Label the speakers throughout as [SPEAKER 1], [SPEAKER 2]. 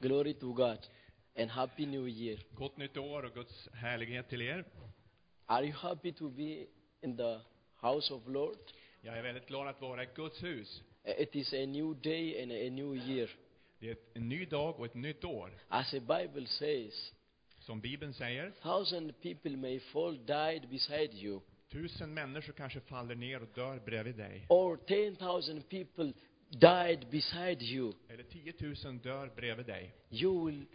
[SPEAKER 1] Glory to God and Happy New Year.
[SPEAKER 2] Gott nytt år och Guds härlighet till er.
[SPEAKER 1] Are you happy to be in the house of Lord?
[SPEAKER 2] Jag är väldigt glad att vara i Guds hus.
[SPEAKER 1] It is a new day and a new year.
[SPEAKER 2] Det är en ny dag och ett nytt år.
[SPEAKER 1] As the Bible says,
[SPEAKER 2] Som Bibeln säger,
[SPEAKER 1] thousand people may fall died beside you,
[SPEAKER 2] tusen människor kanske faller ner och dör bredvid dig.
[SPEAKER 1] or 10,000 people died beside you.
[SPEAKER 2] Eller 10 000 dör bredvid dig.
[SPEAKER 1] You will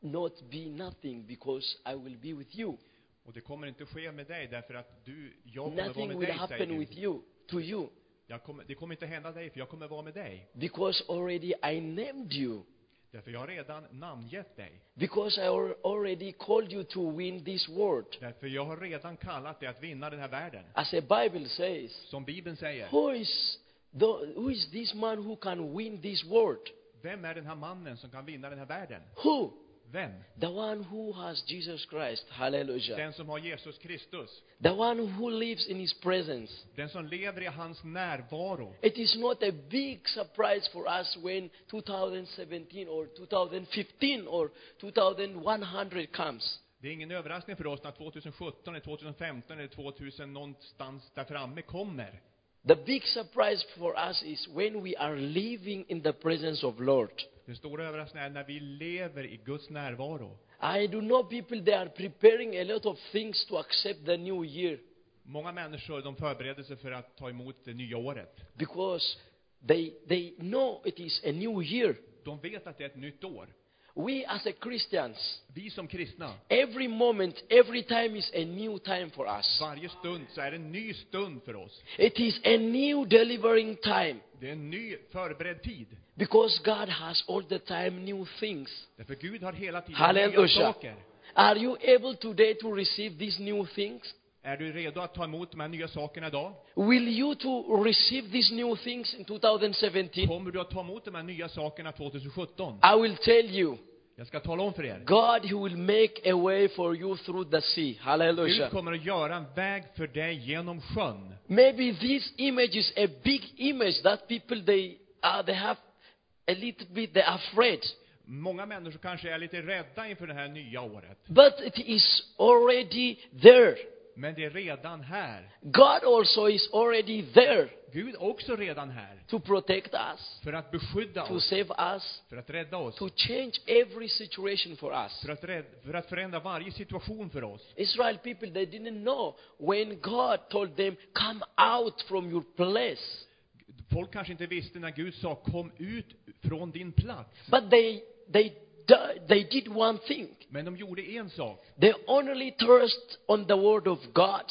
[SPEAKER 1] not be nothing because I will be with you.
[SPEAKER 2] Och det kommer inte ske med dig därför att du, jag kommer vara
[SPEAKER 1] Nothing
[SPEAKER 2] med
[SPEAKER 1] will
[SPEAKER 2] dig, säger
[SPEAKER 1] happen
[SPEAKER 2] Gud.
[SPEAKER 1] with you, to you,
[SPEAKER 2] Jag kommer, det kommer inte hända dig, för jag kommer vara med dig.
[SPEAKER 1] because already I named you.
[SPEAKER 2] Därför jag har redan namngett dig.
[SPEAKER 1] Because I al- already called you to win this world.
[SPEAKER 2] Därför jag har redan kallat dig att vinna den här världen.
[SPEAKER 1] As the Bible says,
[SPEAKER 2] Som Bibeln säger,
[SPEAKER 1] who is, the, who is this man who can win this world?
[SPEAKER 2] vem är den här mannen som kan vinna den här världen?
[SPEAKER 1] Who?
[SPEAKER 2] Vem?
[SPEAKER 1] The one who has Jesus Christ. Hallelujah.
[SPEAKER 2] Den som har Jesus Kristus.
[SPEAKER 1] The one who lives in his presence.
[SPEAKER 2] Den som lever i hans närvaro.
[SPEAKER 1] It is not a big surprise for us when 2017 or 2015 or 2100 comes.
[SPEAKER 2] Det är ingen överraskning för oss när 2017, eller 2015 eller 2000 någonstans där framme kommer.
[SPEAKER 1] The big surprise for us is when we are living in the presence of Lord.
[SPEAKER 2] Den stora överraskningen är när vi lever i Guds närvaro.
[SPEAKER 1] I do know people they are preparing a lot of things to accept the new year
[SPEAKER 2] Många människor de förbereder sig för att ta emot det nya året.
[SPEAKER 1] because they they know it is a new year.
[SPEAKER 2] De vet att det är ett nytt år.
[SPEAKER 1] We as a Christians,
[SPEAKER 2] Vi som kristna,
[SPEAKER 1] every moment, every time is a new time for us.
[SPEAKER 2] varje stund så är det en ny stund för oss.
[SPEAKER 1] It is a new delivering time
[SPEAKER 2] Det är en ny förberedd tid.
[SPEAKER 1] because God has all the time new things.
[SPEAKER 2] Därför Gud har hela tiden nya
[SPEAKER 1] Hallelujah.
[SPEAKER 2] saker.
[SPEAKER 1] Are you able today to receive these new things?
[SPEAKER 2] Är du redo att ta emot de här nya sakerna idag?
[SPEAKER 1] Will you to receive these new things in 2017?
[SPEAKER 2] Kommer du att ta emot de här nya sakerna 2017?
[SPEAKER 1] I will tell you,
[SPEAKER 2] Jag ska tala om för er.
[SPEAKER 1] God He will make a way for you through the sea. Hallelujah.
[SPEAKER 2] Gud kommer att göra en väg för dig genom sjön.
[SPEAKER 1] Maybe this image is a big image that people they uh, they have a little bit they're afraid.
[SPEAKER 2] Många människor kanske är lite rädda inför det här nya året.
[SPEAKER 1] But it is already there.
[SPEAKER 2] Men det är redan här.
[SPEAKER 1] God also is already there
[SPEAKER 2] Gud är också redan här.
[SPEAKER 1] to protect us,
[SPEAKER 2] För att beskydda
[SPEAKER 1] to
[SPEAKER 2] oss.
[SPEAKER 1] save us,
[SPEAKER 2] För att rädda oss.
[SPEAKER 1] to change every situation for us.
[SPEAKER 2] För att, rädd, för att förändra varje situation för oss.
[SPEAKER 1] Israel people they didn't know when God told them, "Come out from your place."
[SPEAKER 2] Folk kanske inte visste när Gud sa kom ut från din plats.
[SPEAKER 1] But they they di- they did one thing.
[SPEAKER 2] Men de gjorde en sak.
[SPEAKER 1] They only thirst on the word of God,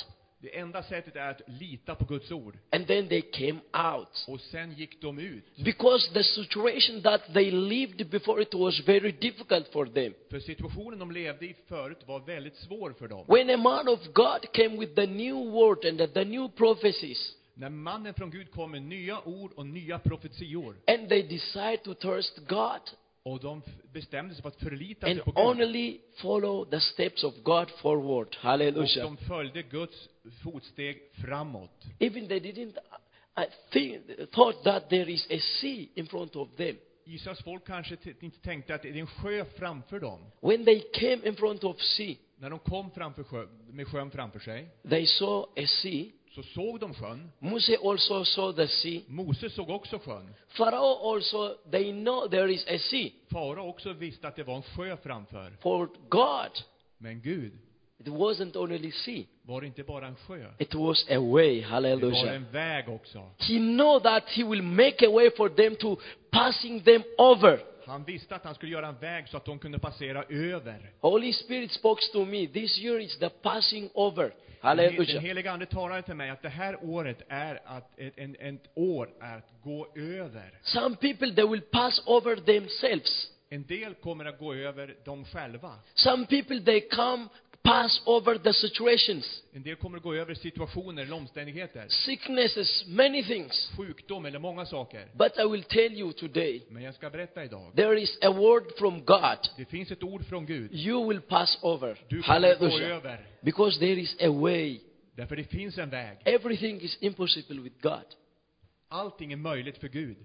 [SPEAKER 2] Det enda sättet är att lita på Guds ord.
[SPEAKER 1] and then they came out
[SPEAKER 2] Och sen gick de ut.
[SPEAKER 1] because the situation that they lived before it was very difficult for them.
[SPEAKER 2] För situationen de levde i förut var väldigt svår för dem.
[SPEAKER 1] When a man of God came with the new word and the new prophecies,
[SPEAKER 2] När mannen från Gud kom med nya ord och nya profetior
[SPEAKER 1] and they decide to thirst God
[SPEAKER 2] och de f- bestämde sig för att förlita sig
[SPEAKER 1] and
[SPEAKER 2] på Gud
[SPEAKER 1] only follow the steps of God forward.
[SPEAKER 2] och
[SPEAKER 1] Hallelujah.
[SPEAKER 2] de följde Guds fotsteg framåt.
[SPEAKER 1] Even they didn't uh, uh, think, thought that there is a sea in front of them.
[SPEAKER 2] Israels folk kanske t- inte tänkte att det är en sjö framför dem.
[SPEAKER 1] When they came in front of sea,
[SPEAKER 2] När de kom framför sjö, med sjön framför sig
[SPEAKER 1] they saw a sea.
[SPEAKER 2] så såg de sjön.
[SPEAKER 1] Moses also saw the sea.
[SPEAKER 2] Mose såg också sjön.
[SPEAKER 1] Pharaoh also, they know there is a sea.
[SPEAKER 2] Farao också visste att det var en sjö framför.
[SPEAKER 1] For God,
[SPEAKER 2] Men Gud
[SPEAKER 1] it wasn't only sea.
[SPEAKER 2] var det inte bara en sjö.
[SPEAKER 1] It was a way.
[SPEAKER 2] Det var
[SPEAKER 1] Hallelujah.
[SPEAKER 2] en väg också.
[SPEAKER 1] He know that he will make a way for them to passing them over.
[SPEAKER 2] Han visste att han skulle göra en väg så att de kunde passera över.
[SPEAKER 1] Holy Spirit spoke to me. This year is the passing over.
[SPEAKER 2] Den
[SPEAKER 1] Hallelujah.
[SPEAKER 2] heliga Ande talade till mig att det här året är att, ett, en, ett år är att gå över.
[SPEAKER 1] Some people, they will pass over themselves.
[SPEAKER 2] En del kommer att gå över dem själva.
[SPEAKER 1] Some people, they come pass over the situations.
[SPEAKER 2] En del kommer att gå över situationer eller omständigheter.
[SPEAKER 1] sicknesses, many things.
[SPEAKER 2] Sjukdom eller många saker.
[SPEAKER 1] But I will tell you today,
[SPEAKER 2] Men jag ska berätta idag.
[SPEAKER 1] there is a word from God.
[SPEAKER 2] Det finns ett ord från Gud.
[SPEAKER 1] You will pass over.
[SPEAKER 2] Du kommer att gå
[SPEAKER 1] Hallelujah.
[SPEAKER 2] över.
[SPEAKER 1] Because there is a way.
[SPEAKER 2] Därför det finns en väg.
[SPEAKER 1] Everything is impossible with God.
[SPEAKER 2] Allting är möjligt för Gud.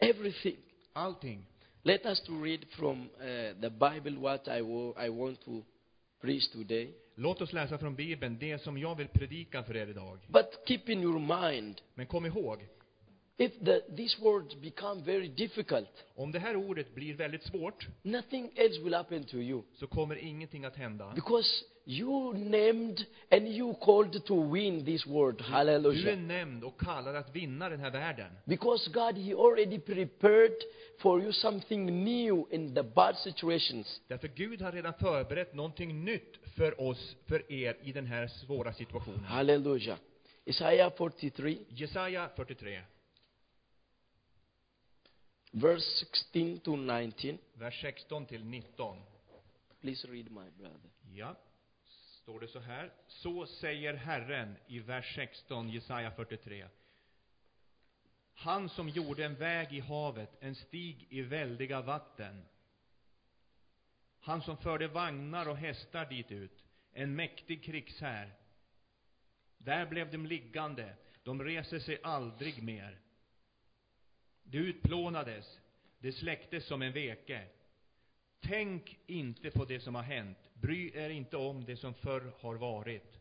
[SPEAKER 1] Everything.
[SPEAKER 2] Allting.
[SPEAKER 1] Let us to read from uh, the Bible what I, wo- I want to preach today.
[SPEAKER 2] Låt oss läsa från Bibeln det som jag vill predika för er idag.
[SPEAKER 1] But keep in your mind,
[SPEAKER 2] Men kom ihåg,
[SPEAKER 1] if the, these words become very difficult,
[SPEAKER 2] om det här ordet blir väldigt svårt,
[SPEAKER 1] nothing else will happen to you.
[SPEAKER 2] så kommer ingenting att hända.
[SPEAKER 1] Because you named and you called to win this world.
[SPEAKER 2] Du är
[SPEAKER 1] Hallelujah.
[SPEAKER 2] nämnd och kallad att vinna den här världen.
[SPEAKER 1] Because God, He already prepared for you something new in the bad situations.
[SPEAKER 2] Därför Gud har redan förberett någonting nytt för oss, för er, i den här svåra situationen.
[SPEAKER 1] Hallelujah. Isaiah 43,
[SPEAKER 2] Jesaja 43,
[SPEAKER 1] verse 16 to 19.
[SPEAKER 2] vers 16 till 19.
[SPEAKER 1] Please read, my brother.
[SPEAKER 2] Ja, står det så här. Så säger Herren i vers 16, Jesaja 43. Han som gjorde en väg i havet, en stig i väldiga vatten. Han som förde vagnar och hästar dit ut, en mäktig krigshär. Där blev de liggande, de reser sig aldrig mer. De utplånades, de släcktes som en veke. Tänk inte på det som har hänt. Bry er inte om det som förr har varit.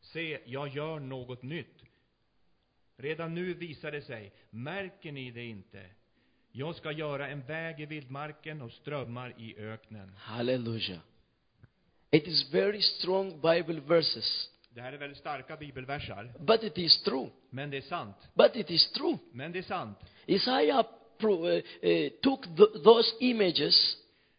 [SPEAKER 2] Se, jag gör något nytt. Redan nu visar det sig. Märker ni det inte? Jag ska göra en väg i vildmarken och strömmar i öknen.
[SPEAKER 1] Hallelujah. It is very strong Bible verses,
[SPEAKER 2] Det här är väldigt starka bibelversar.
[SPEAKER 1] but it is true.
[SPEAKER 2] Men det är sant.
[SPEAKER 1] But it is true.
[SPEAKER 2] Men det är sant.
[SPEAKER 1] Isaiah pro- uh, uh, took th- those images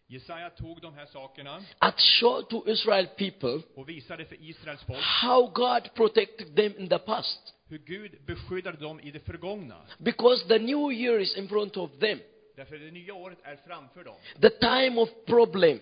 [SPEAKER 2] Jesaja tog de här sakerna
[SPEAKER 1] and showed to Israel people
[SPEAKER 2] och visade för Israels folk
[SPEAKER 1] how God protected them in the past.
[SPEAKER 2] hur Gud beskyddade dem i det förgångna.
[SPEAKER 1] Because the new year is in front of them.
[SPEAKER 2] Därför det nya året är framför dem.
[SPEAKER 1] The time of problem.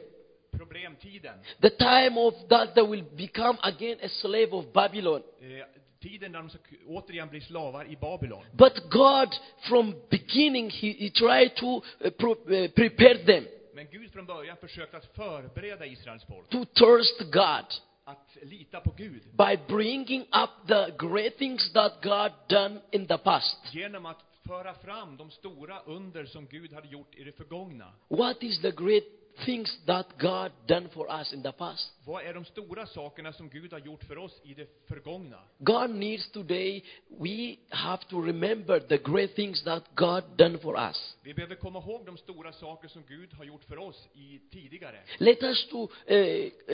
[SPEAKER 2] Problemtiden.
[SPEAKER 1] The time of that they will become again a slave of Babylon.
[SPEAKER 2] eh, tiden när de ska k- återigen bli slavar i Babylon.
[SPEAKER 1] But God, from beginning, He, he tried to uh, pro- uh, prepare them
[SPEAKER 2] Men Gud från början försökte att förbereda Israels folk,
[SPEAKER 1] to thirst God
[SPEAKER 2] att lita på Gud,
[SPEAKER 1] by bringing up the great things that God done in the past.
[SPEAKER 2] genom att föra fram de stora under som Gud hade gjort i det förgångna.
[SPEAKER 1] What is the great things that God done for us in the past?
[SPEAKER 2] Vad är de stora sakerna som Gud har gjort för oss i det förgångna?
[SPEAKER 1] God needs today, we have to remember the great things that God done for us.
[SPEAKER 2] Vi behöver komma ihåg de stora saker som Gud har gjort för oss i tidigare.
[SPEAKER 1] Let us to uh,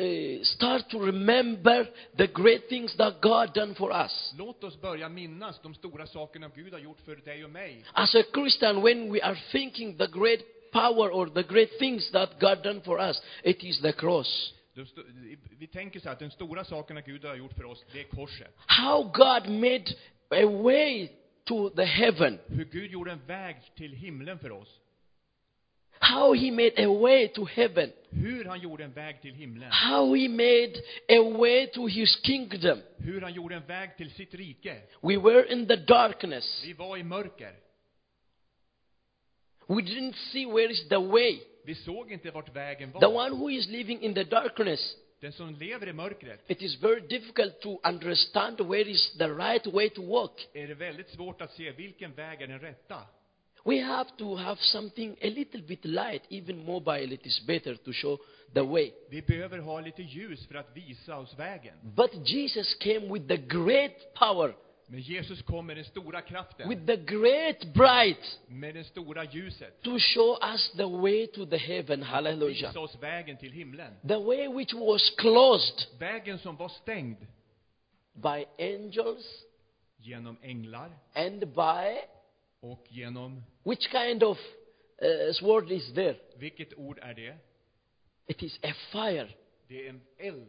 [SPEAKER 1] uh, start to remember the great things that God done for us.
[SPEAKER 2] Låt oss börja minnas de stora sakerna Gud har gjort för dig och mig.
[SPEAKER 1] As a Christian, when we are thinking the great power or the great things that God done for us, it is the cross.
[SPEAKER 2] De sto- vi tänker så här, att de stora sakerna Gud har gjort för oss, det är korset.
[SPEAKER 1] How God made a way to the heaven.
[SPEAKER 2] Hur Gud gjorde en väg till himlen för oss.
[SPEAKER 1] How He made a way to heaven.
[SPEAKER 2] Hur han gjorde en väg till himlen.
[SPEAKER 1] How He made a way to His kingdom.
[SPEAKER 2] Hur han gjorde en väg till sitt rike.
[SPEAKER 1] We were in the darkness.
[SPEAKER 2] Vi var i mörker.
[SPEAKER 1] We didn't see where is the way.
[SPEAKER 2] Vi såg inte vart vägen
[SPEAKER 1] The
[SPEAKER 2] var.
[SPEAKER 1] one who is living in the darkness
[SPEAKER 2] Den som lever i mörkret
[SPEAKER 1] It is very difficult to understand where is the right way to walk.
[SPEAKER 2] är det väldigt svårt att se vilken väg är den rätta.
[SPEAKER 1] We have to have something a little bit light, even mobile, it is better to show the way.
[SPEAKER 2] Vi behöver ha lite ljus för att visa oss vägen.
[SPEAKER 1] But Jesus came with the great power,
[SPEAKER 2] Men Jesus kom med den stora kraften,
[SPEAKER 1] with the great bright,
[SPEAKER 2] med det stora ljuset.
[SPEAKER 1] to show us the way to the heaven. Hallelujah.
[SPEAKER 2] Visa oss vägen till himlen.
[SPEAKER 1] The way which was closed
[SPEAKER 2] Vägen som var stängd
[SPEAKER 1] by angels
[SPEAKER 2] genom änglar
[SPEAKER 1] and by
[SPEAKER 2] och genom...
[SPEAKER 1] which kind of uh, sword is there?
[SPEAKER 2] Vilket ord är det?
[SPEAKER 1] It is a fire.
[SPEAKER 2] Det är en eld.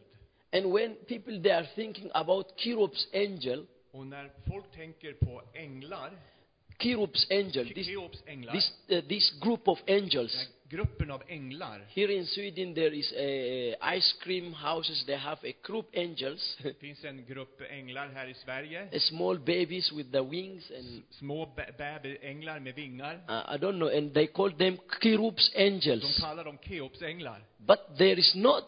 [SPEAKER 1] And when people they are thinking about Kirub's angel,
[SPEAKER 2] Och när folk tänker på änglar,
[SPEAKER 1] Kirub's angel, this,
[SPEAKER 2] Keops änglar,
[SPEAKER 1] this, uh, this group of angels.
[SPEAKER 2] den här gruppen av änglar,
[SPEAKER 1] Here in Sweden there is a ice cream houses, they have a group angels,
[SPEAKER 2] det finns en grupp änglar här i Sverige,
[SPEAKER 1] a small babies with the wings and
[SPEAKER 2] små bä- bäveränglar med vingar.
[SPEAKER 1] uh, I don't know, and they call them Kirub's
[SPEAKER 2] De
[SPEAKER 1] angels.
[SPEAKER 2] kallar dem Keops änglar.
[SPEAKER 1] But there is not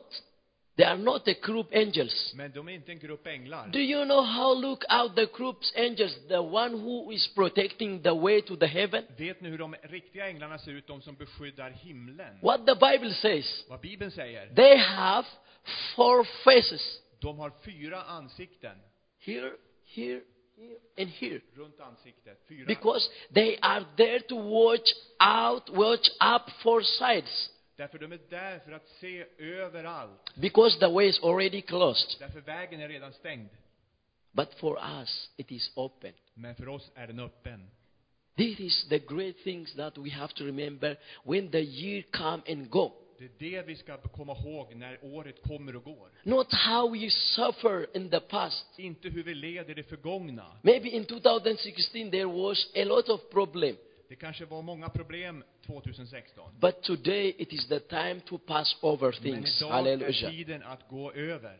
[SPEAKER 1] They are not a group angels.
[SPEAKER 2] Men de är inte en grupp änglar.
[SPEAKER 1] Do you know how look out the group's angels, the one who is protecting the way to the heaven?
[SPEAKER 2] Vet ni hur de riktiga änglarna ser ut, de som beskyddar himlen?
[SPEAKER 1] What the Bible says,
[SPEAKER 2] Vad Bibeln säger?
[SPEAKER 1] they have four faces.
[SPEAKER 2] De har fyra ansikten
[SPEAKER 1] Here, here, here, and here.
[SPEAKER 2] runt ansiktet. Fyra.
[SPEAKER 1] Because they are there to watch out, watch up four sides.
[SPEAKER 2] Därför de är där för att se överallt.
[SPEAKER 1] Because the way is already closed.
[SPEAKER 2] Därför vägen är redan stängd.
[SPEAKER 1] But for us, it is open.
[SPEAKER 2] Men för oss är den öppen.
[SPEAKER 1] This is the great things that we have to remember when the year come and go.
[SPEAKER 2] Det är det vi ska komma ihåg när året kommer och går.
[SPEAKER 1] Not how we suffer in the past.
[SPEAKER 2] Inte hur vi leder det förgångna.
[SPEAKER 1] Maybe in 2016 there was a lot of problem,
[SPEAKER 2] Det kanske var många problem 2016.
[SPEAKER 1] but today it is the time to pass over
[SPEAKER 2] Men
[SPEAKER 1] things.
[SPEAKER 2] idag är
[SPEAKER 1] Hallelujah.
[SPEAKER 2] tiden att gå över.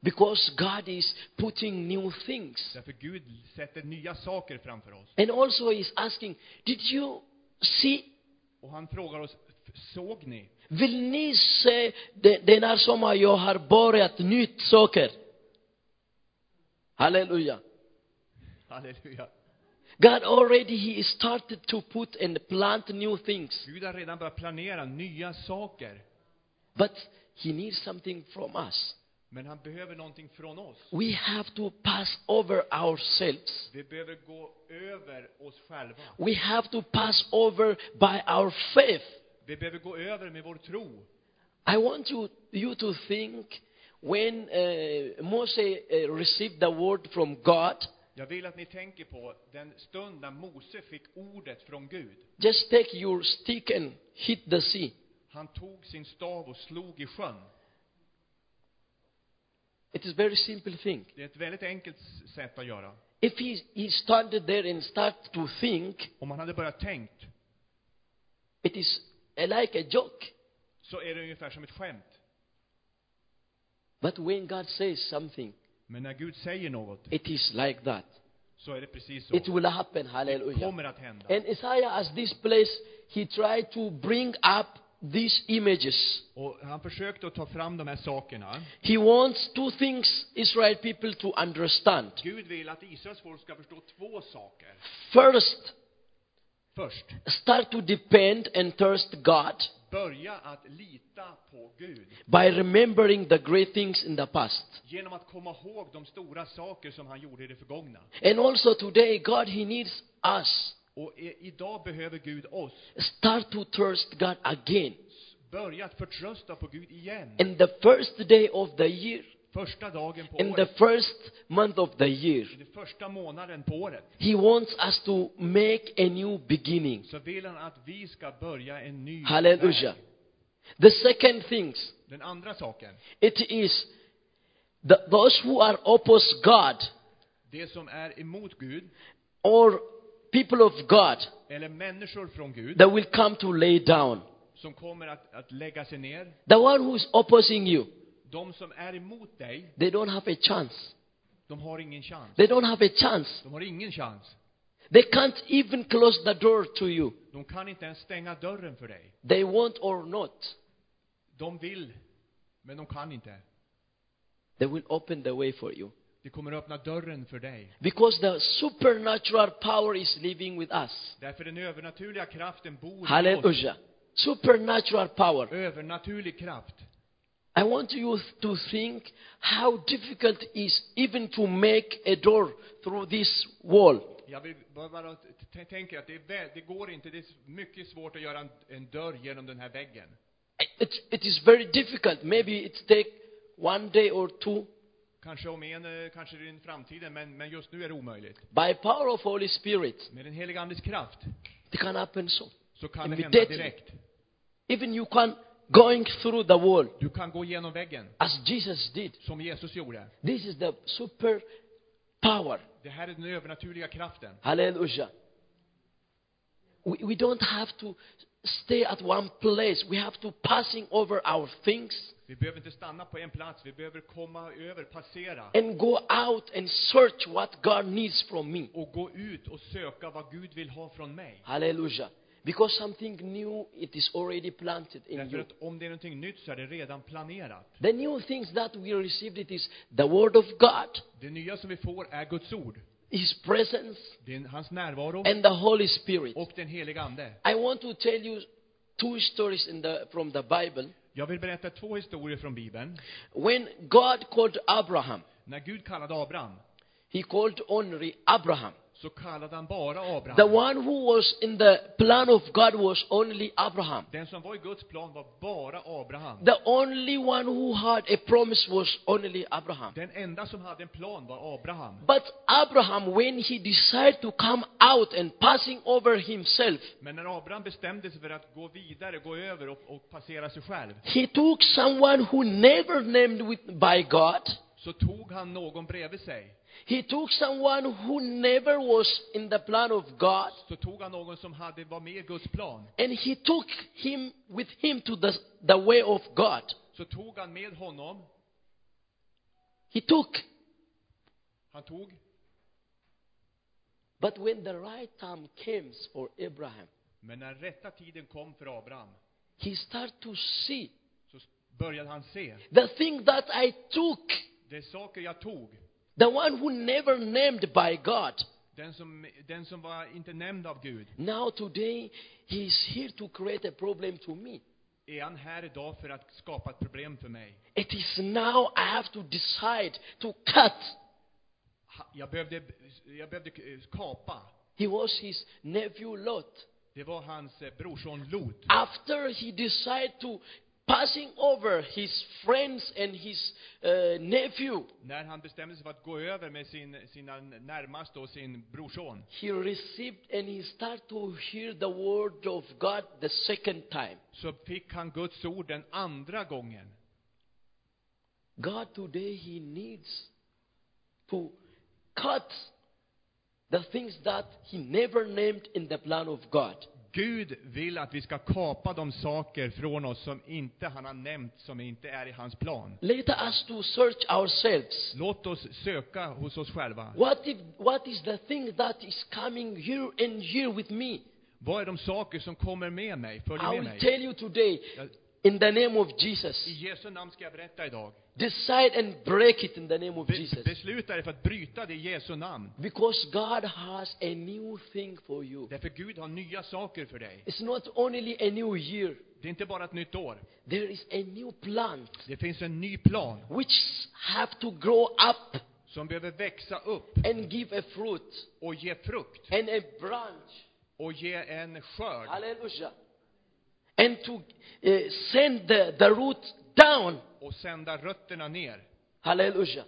[SPEAKER 1] Because God is putting new things.
[SPEAKER 2] Därför Gud sätter nya saker framför oss.
[SPEAKER 1] And also he's asking, did you see?
[SPEAKER 2] Och han frågar oss, "F- såg ni?
[SPEAKER 1] Vill ni se de- den här sommaren jag har börjat nytt saker? Halleluja.
[SPEAKER 2] Halleluja.
[SPEAKER 1] God already he started to put and plant new things,
[SPEAKER 2] Gud har redan börjat planera nya saker.
[SPEAKER 1] but he needs something from us.
[SPEAKER 2] Men han behöver någonting från oss.
[SPEAKER 1] We have to pass over ourselves.
[SPEAKER 2] Vi behöver gå över oss själva.
[SPEAKER 1] We have to pass over by our faith.
[SPEAKER 2] Vi behöver gå över med vår tro.
[SPEAKER 1] I want you, you to think when uh, Moses uh, received the word from God,
[SPEAKER 2] Jag vill att ni tänker på den stund när Mose fick ordet från Gud.
[SPEAKER 1] just take your stick and hit the sea.
[SPEAKER 2] Han tog sin stav och slog i sjön.
[SPEAKER 1] It is very simple thing.
[SPEAKER 2] Det är ett väldigt enkelt s- sätt att göra.
[SPEAKER 1] If he, he started there and start to think,
[SPEAKER 2] Om han hade börjat tänkt,
[SPEAKER 1] it is uh, like a joke.
[SPEAKER 2] så är det ungefär som ett skämt.
[SPEAKER 1] But when God says something,
[SPEAKER 2] Men när Gud säger något,
[SPEAKER 1] it is like that.
[SPEAKER 2] så är det precis så.
[SPEAKER 1] It will happen.
[SPEAKER 2] Det
[SPEAKER 1] Hallelujah.
[SPEAKER 2] kommer att hända.
[SPEAKER 1] And Isaiah, as this place, he tried to bring up these images.
[SPEAKER 2] Och han försökte att ta fram de här sakerna.
[SPEAKER 1] He wants two things Israel people to understand.
[SPEAKER 2] Gud vill att Israels folk ska förstå två saker.
[SPEAKER 1] First,
[SPEAKER 2] Först,
[SPEAKER 1] start to depend and thirst God
[SPEAKER 2] börja att lita på Gud.
[SPEAKER 1] by remembering the great things in the past.
[SPEAKER 2] Genom att komma ihåg de stora saker som han gjorde i det förgångna.
[SPEAKER 1] And also today, God, He needs us.
[SPEAKER 2] Och i- idag behöver Gud oss.
[SPEAKER 1] Start to thirst God again.
[SPEAKER 2] Börja att förtrösta på Gud igen.
[SPEAKER 1] In the first day of the year,
[SPEAKER 2] Första dagen på
[SPEAKER 1] in the
[SPEAKER 2] året.
[SPEAKER 1] first month of the year,
[SPEAKER 2] Den första månaden på året.
[SPEAKER 1] He wants us to make a new beginning.
[SPEAKER 2] Så vill han att vi ska börja en ny
[SPEAKER 1] Hallelujah.
[SPEAKER 2] väg.
[SPEAKER 1] The second things,
[SPEAKER 2] Den andra saken.
[SPEAKER 1] it is that those who are opposed God
[SPEAKER 2] Det som är emot Gud,
[SPEAKER 1] or people of God
[SPEAKER 2] eller människor från Gud,
[SPEAKER 1] that will come to lay down.
[SPEAKER 2] som kommer att, att lägga sig ner.
[SPEAKER 1] The one who is opposing you,
[SPEAKER 2] De som är emot dig,
[SPEAKER 1] they don't have a chance.
[SPEAKER 2] de har ingen chans.
[SPEAKER 1] They don't have a chance.
[SPEAKER 2] De har ingen chans.
[SPEAKER 1] They can't even close the door to you.
[SPEAKER 2] De kan inte ens stänga dörren för dig.
[SPEAKER 1] They want or not,
[SPEAKER 2] De vill, men de kan inte.
[SPEAKER 1] they will open the way for you.
[SPEAKER 2] Det kommer att öppna dörren för dig.
[SPEAKER 1] Because the supernatural power is living with us.
[SPEAKER 2] Därför den övernaturliga kraften bor i oss.
[SPEAKER 1] Hallelujah. Supernatural power.
[SPEAKER 2] Övernaturlig kraft.
[SPEAKER 1] I want you to think how difficult it is even to make a door through this wall.
[SPEAKER 2] Jag vill bara- bara t- t- tänka att det, är vä- det går inte. Det är s- mycket svårt att göra en, en dörr genom den här väggen.
[SPEAKER 1] It, it is very difficult. Maybe it take one day or two.
[SPEAKER 2] Kanske om en, eh, kanske i en framtiden, men, men just nu är det omöjligt.
[SPEAKER 1] By power of Holy Spirit,
[SPEAKER 2] Med den heliga Andes kraft
[SPEAKER 1] it can happen so.
[SPEAKER 2] så kan det hända
[SPEAKER 1] Immediately.
[SPEAKER 2] direkt.
[SPEAKER 1] Even you can going through the wall
[SPEAKER 2] Du kan gå genom väggen,
[SPEAKER 1] as Jesus did.
[SPEAKER 2] som Jesus gjorde.
[SPEAKER 1] This is the super power.
[SPEAKER 2] Det här är den övernaturliga kraften.
[SPEAKER 1] Hallelujah. We, we don't have to stay at one place. We have to passing over our things.
[SPEAKER 2] Vi behöver inte stanna på en plats, vi behöver komma över, passera
[SPEAKER 1] and go out and search what God needs from me.
[SPEAKER 2] och gå ut och söka vad Gud vill ha från mig.
[SPEAKER 1] Hallelujah. Because something new, it is already planted in
[SPEAKER 2] Därför
[SPEAKER 1] you.
[SPEAKER 2] att om det är någonting nytt så är det redan planerat.
[SPEAKER 1] The new things that we received, it is the Word of God,
[SPEAKER 2] Det nya som vi får är Guds ord,
[SPEAKER 1] His presence,
[SPEAKER 2] det är hans närvaro
[SPEAKER 1] and the Holy Spirit.
[SPEAKER 2] och den heliga Ande.
[SPEAKER 1] I want to tell you two stories in the, from the Bible.
[SPEAKER 2] Jag vill berätta två historier från Bibeln.
[SPEAKER 1] When God called Abraham,
[SPEAKER 2] När Gud kallade Abraham,
[SPEAKER 1] He called only Abraham.
[SPEAKER 2] så kallade han bara
[SPEAKER 1] The
[SPEAKER 2] Abraham.
[SPEAKER 1] one who was in the plan of God was only Abraham.
[SPEAKER 2] Den som var i Guds plan var bara Abraham.
[SPEAKER 1] The only one who had a promise was only Abraham.
[SPEAKER 2] Den enda som hade en plan var Abraham.
[SPEAKER 1] But Abraham, when he decided to come out and passing over himself,
[SPEAKER 2] Men när Abraham bestämde sig för att gå vidare, gå över och, och passera sig själv,
[SPEAKER 1] he took someone who never named with, by God.
[SPEAKER 2] så tog han någon bredvid sig.
[SPEAKER 1] He took someone who never was in the plan of God.
[SPEAKER 2] Så tog han någon som hade, var med i Guds plan.
[SPEAKER 1] And he took him with him to the, the way of God.
[SPEAKER 2] Så tog han med honom,
[SPEAKER 1] He took.
[SPEAKER 2] han tog,
[SPEAKER 1] But when the right time came for Abraham,
[SPEAKER 2] men när rätta tiden kom för Abraham,
[SPEAKER 1] he started to see
[SPEAKER 2] så s- började han se.
[SPEAKER 1] the thing that I took,
[SPEAKER 2] Det är saker jag tog.
[SPEAKER 1] the one who never named by God.
[SPEAKER 2] Den som, den som var inte nämnd av Gud,
[SPEAKER 1] Now today, he is here to create a problem to me.
[SPEAKER 2] är han här idag för att skapa ett problem för mig.
[SPEAKER 1] It is now I have to decide to cut.
[SPEAKER 2] Ha- Jag behövde, jag behövde eh, kapa.
[SPEAKER 1] He was his nephew Lot.
[SPEAKER 2] Det var hans eh, brorson Lot.
[SPEAKER 1] After he decided to passing over his friends and his uh, nephew,
[SPEAKER 2] När han bestämde sig för att gå över med sin, sina närmaste och sin brorson,
[SPEAKER 1] he received and he started to hear the word of God the second time.
[SPEAKER 2] så fick han Guds ord den andra gången.
[SPEAKER 1] God today he needs to cut the things that he never named in the plan of God.
[SPEAKER 2] Gud vill att vi ska kapa de saker från oss som inte han har nämnt, som inte är i hans plan.
[SPEAKER 1] Let us to search ourselves.
[SPEAKER 2] Låt oss söka hos oss själva.
[SPEAKER 1] What if what is the thing that is coming year and year with me?
[SPEAKER 2] Vad är de saker som kommer med mig, följer
[SPEAKER 1] I
[SPEAKER 2] med
[SPEAKER 1] will
[SPEAKER 2] mig?
[SPEAKER 1] tell you today
[SPEAKER 2] Jag,
[SPEAKER 1] in the name of
[SPEAKER 2] I
[SPEAKER 1] Jesus.
[SPEAKER 2] Jesu namn ska jag berätta idag.
[SPEAKER 1] Decide and break it in the name of
[SPEAKER 2] Be,
[SPEAKER 1] Jesus.
[SPEAKER 2] besluta dig för att bryta det i Jesu namn.
[SPEAKER 1] Because God has a new thing for you.
[SPEAKER 2] Därför Gud har nya saker för dig.
[SPEAKER 1] It's not only a new year,
[SPEAKER 2] Det är inte bara ett nytt år.
[SPEAKER 1] there is a new plant
[SPEAKER 2] Det finns en ny plan
[SPEAKER 1] which have to grow up
[SPEAKER 2] som behöver växa upp
[SPEAKER 1] and give a fruit
[SPEAKER 2] och ge frukt
[SPEAKER 1] and a branch.
[SPEAKER 2] och ge en skörd
[SPEAKER 1] Hallelujah. And to eh, send the, the root down.
[SPEAKER 2] och sända rötterna ner.
[SPEAKER 1] Hallelujah.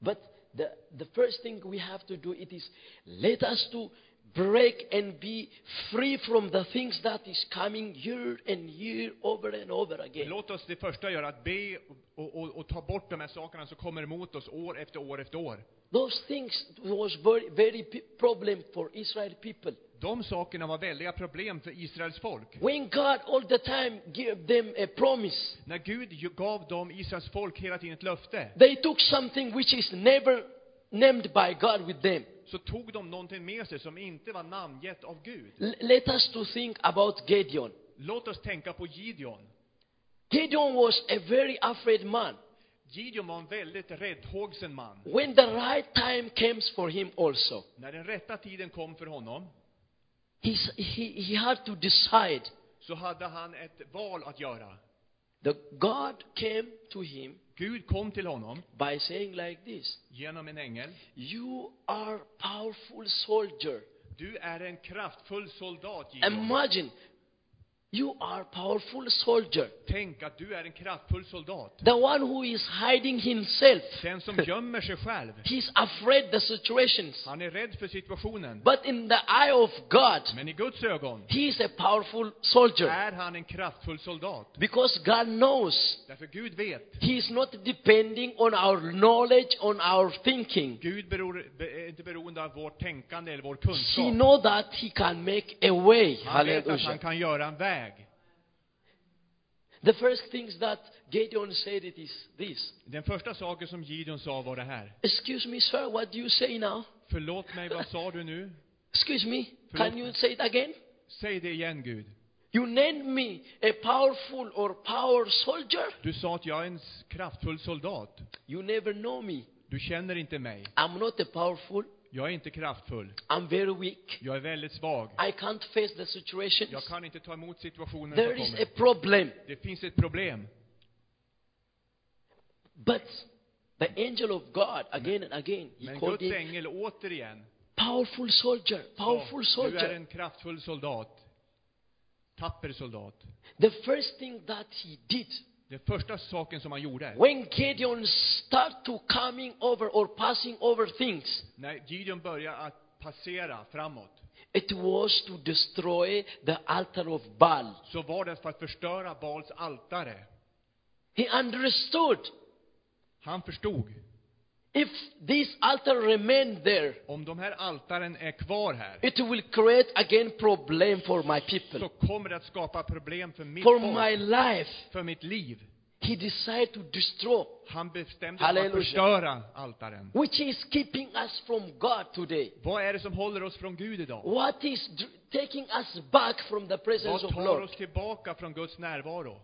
[SPEAKER 1] But the, the first thing we have to do it is let us to break and be free from the things that is coming year and year over and over again.
[SPEAKER 2] Låt oss det första göra, att be och, och, och ta bort de här sakerna som kommer emot oss år efter år efter år.
[SPEAKER 1] Those things was very, very p- problem for Israel people.
[SPEAKER 2] De sakerna var väldiga problem för Israels folk.
[SPEAKER 1] When God all the time gave them a promise,
[SPEAKER 2] När Gud ju- gav dem, Israels folk, hela tiden ett löfte,
[SPEAKER 1] they took something which is never named by God with them.
[SPEAKER 2] så tog de någonting med sig som inte var namngett av Gud.
[SPEAKER 1] L- let us to think about Gideon.
[SPEAKER 2] Låt oss tänka på Gideon.
[SPEAKER 1] Gideon was a very afraid man.
[SPEAKER 2] Gideon var en väldigt räddhågsen man.
[SPEAKER 1] When the right time comes for him also,
[SPEAKER 2] När den rätta tiden kom för honom,
[SPEAKER 1] he, s- he, he had to decide.
[SPEAKER 2] så hade han ett val att göra.
[SPEAKER 1] The God came to him
[SPEAKER 2] Gud kom till honom
[SPEAKER 1] by saying like this,
[SPEAKER 2] genom en ängel.
[SPEAKER 1] you are powerful soldier.
[SPEAKER 2] Du är en kraftfull soldat, Gideon.
[SPEAKER 1] Imagine, you are powerful soldier.
[SPEAKER 2] Tänk att du är en kraftfull soldat.
[SPEAKER 1] The one who is hiding himself.
[SPEAKER 2] Den som gömmer sig själv.
[SPEAKER 1] He's afraid the situations.
[SPEAKER 2] Han är rädd för situationen.
[SPEAKER 1] But in the eye of God,
[SPEAKER 2] Men i Guds ögon
[SPEAKER 1] he is a powerful soldier.
[SPEAKER 2] är han en kraftfull soldat.
[SPEAKER 1] Because God knows
[SPEAKER 2] Därför Gud vet.
[SPEAKER 1] he is not depending on our knowledge, on our thinking.
[SPEAKER 2] Gud beror, be, är inte beroende av vårt tänkande eller vår
[SPEAKER 1] He
[SPEAKER 2] kunskap.
[SPEAKER 1] knows that he can make a way.
[SPEAKER 2] Han vet att han
[SPEAKER 1] Hallelujah.
[SPEAKER 2] kan göra en väg.
[SPEAKER 1] The first things that Gideon said it is this.
[SPEAKER 2] Den första saken som Gideon sa var det här.
[SPEAKER 1] Excuse me, sir, what do you say now?
[SPEAKER 2] Förlåt mig, vad sa du nu?
[SPEAKER 1] Excuse me,
[SPEAKER 2] Förlåt
[SPEAKER 1] can
[SPEAKER 2] mig.
[SPEAKER 1] you say it again?
[SPEAKER 2] Säg det igen, Gud.
[SPEAKER 1] You named me a powerful or power soldier.
[SPEAKER 2] Du sa att jag är en s- kraftfull soldat.
[SPEAKER 1] You never know me.
[SPEAKER 2] Du känner inte mig.
[SPEAKER 1] I'm not a powerful.
[SPEAKER 2] Jag är inte kraftfull.
[SPEAKER 1] I'm very weak.
[SPEAKER 2] Jag är väldigt svag.
[SPEAKER 1] I can't face the situations.
[SPEAKER 2] Jag kan inte ta emot situationen
[SPEAKER 1] There
[SPEAKER 2] som
[SPEAKER 1] is a
[SPEAKER 2] kommer.
[SPEAKER 1] problem.
[SPEAKER 2] Det finns ett problem.
[SPEAKER 1] But the angel of God, again and again, he
[SPEAKER 2] Men
[SPEAKER 1] called
[SPEAKER 2] Guds
[SPEAKER 1] him
[SPEAKER 2] ängel återigen
[SPEAKER 1] powerful soldier, powerful
[SPEAKER 2] sa, du är
[SPEAKER 1] soldier.
[SPEAKER 2] en kraftfull soldat. Tapper soldat.
[SPEAKER 1] The first thing that he did,
[SPEAKER 2] Den första saken som han gjorde,
[SPEAKER 1] when Gideon start to coming over or passing over things,
[SPEAKER 2] när Gideon började att passera framåt,
[SPEAKER 1] it was to destroy the altar of Baal.
[SPEAKER 2] så var det för att förstöra Bals altare.
[SPEAKER 1] He understood
[SPEAKER 2] Han förstod,
[SPEAKER 1] if this altar remained there,
[SPEAKER 2] om de här altaren är kvar här,
[SPEAKER 1] it will create again problem for my
[SPEAKER 2] så
[SPEAKER 1] people,
[SPEAKER 2] kommer det att skapa problem för mitt
[SPEAKER 1] for
[SPEAKER 2] folk,
[SPEAKER 1] my life.
[SPEAKER 2] för mitt liv.
[SPEAKER 1] He decided to destroy,
[SPEAKER 2] Han bestämde sig för att
[SPEAKER 1] Halleluja.
[SPEAKER 2] förstöra altaren.
[SPEAKER 1] which is keeping us from God today.
[SPEAKER 2] Vad är det som håller oss från Gud idag?
[SPEAKER 1] What is dr- taking us back from the presence
[SPEAKER 2] Vad
[SPEAKER 1] of
[SPEAKER 2] tar
[SPEAKER 1] Lord?
[SPEAKER 2] oss tillbaka från Guds närvaro?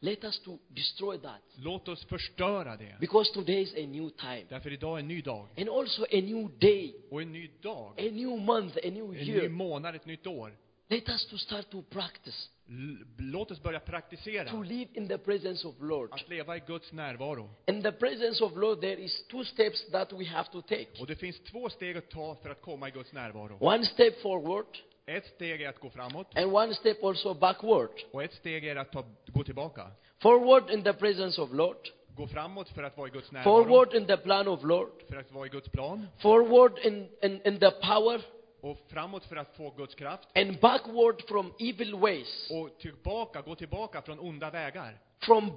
[SPEAKER 1] Let us to destroy that,
[SPEAKER 2] Låt oss förstöra det.
[SPEAKER 1] because today is a new time,
[SPEAKER 2] Därför idag är en ny dag.
[SPEAKER 1] and also a new day,
[SPEAKER 2] Och en ny dag,
[SPEAKER 1] a new month, a new
[SPEAKER 2] en ny
[SPEAKER 1] year.
[SPEAKER 2] månad, ett nytt år.
[SPEAKER 1] Let us to start to practice
[SPEAKER 2] L- Låt oss börja praktisera
[SPEAKER 1] to live in the presence of Lord.
[SPEAKER 2] att leva i Guds närvaro.
[SPEAKER 1] In the presence of Lord, there is two steps that we have to take.
[SPEAKER 2] Och det finns två steg att ta för att komma i Guds närvaro.
[SPEAKER 1] One step forward,
[SPEAKER 2] Ett steg är att gå framåt
[SPEAKER 1] and one step also backward.
[SPEAKER 2] och ett steg är att ta, gå tillbaka.
[SPEAKER 1] Forward in the presence of Lord,
[SPEAKER 2] Gå framåt för att vara i Guds närvaro,
[SPEAKER 1] forward in the plan of Lord,
[SPEAKER 2] för att vara i Guds plan
[SPEAKER 1] forward in, in, in the power,
[SPEAKER 2] och framåt för att få Guds kraft
[SPEAKER 1] and backward from evil ways,
[SPEAKER 2] och tillbaka, gå tillbaka från onda vägar,
[SPEAKER 1] from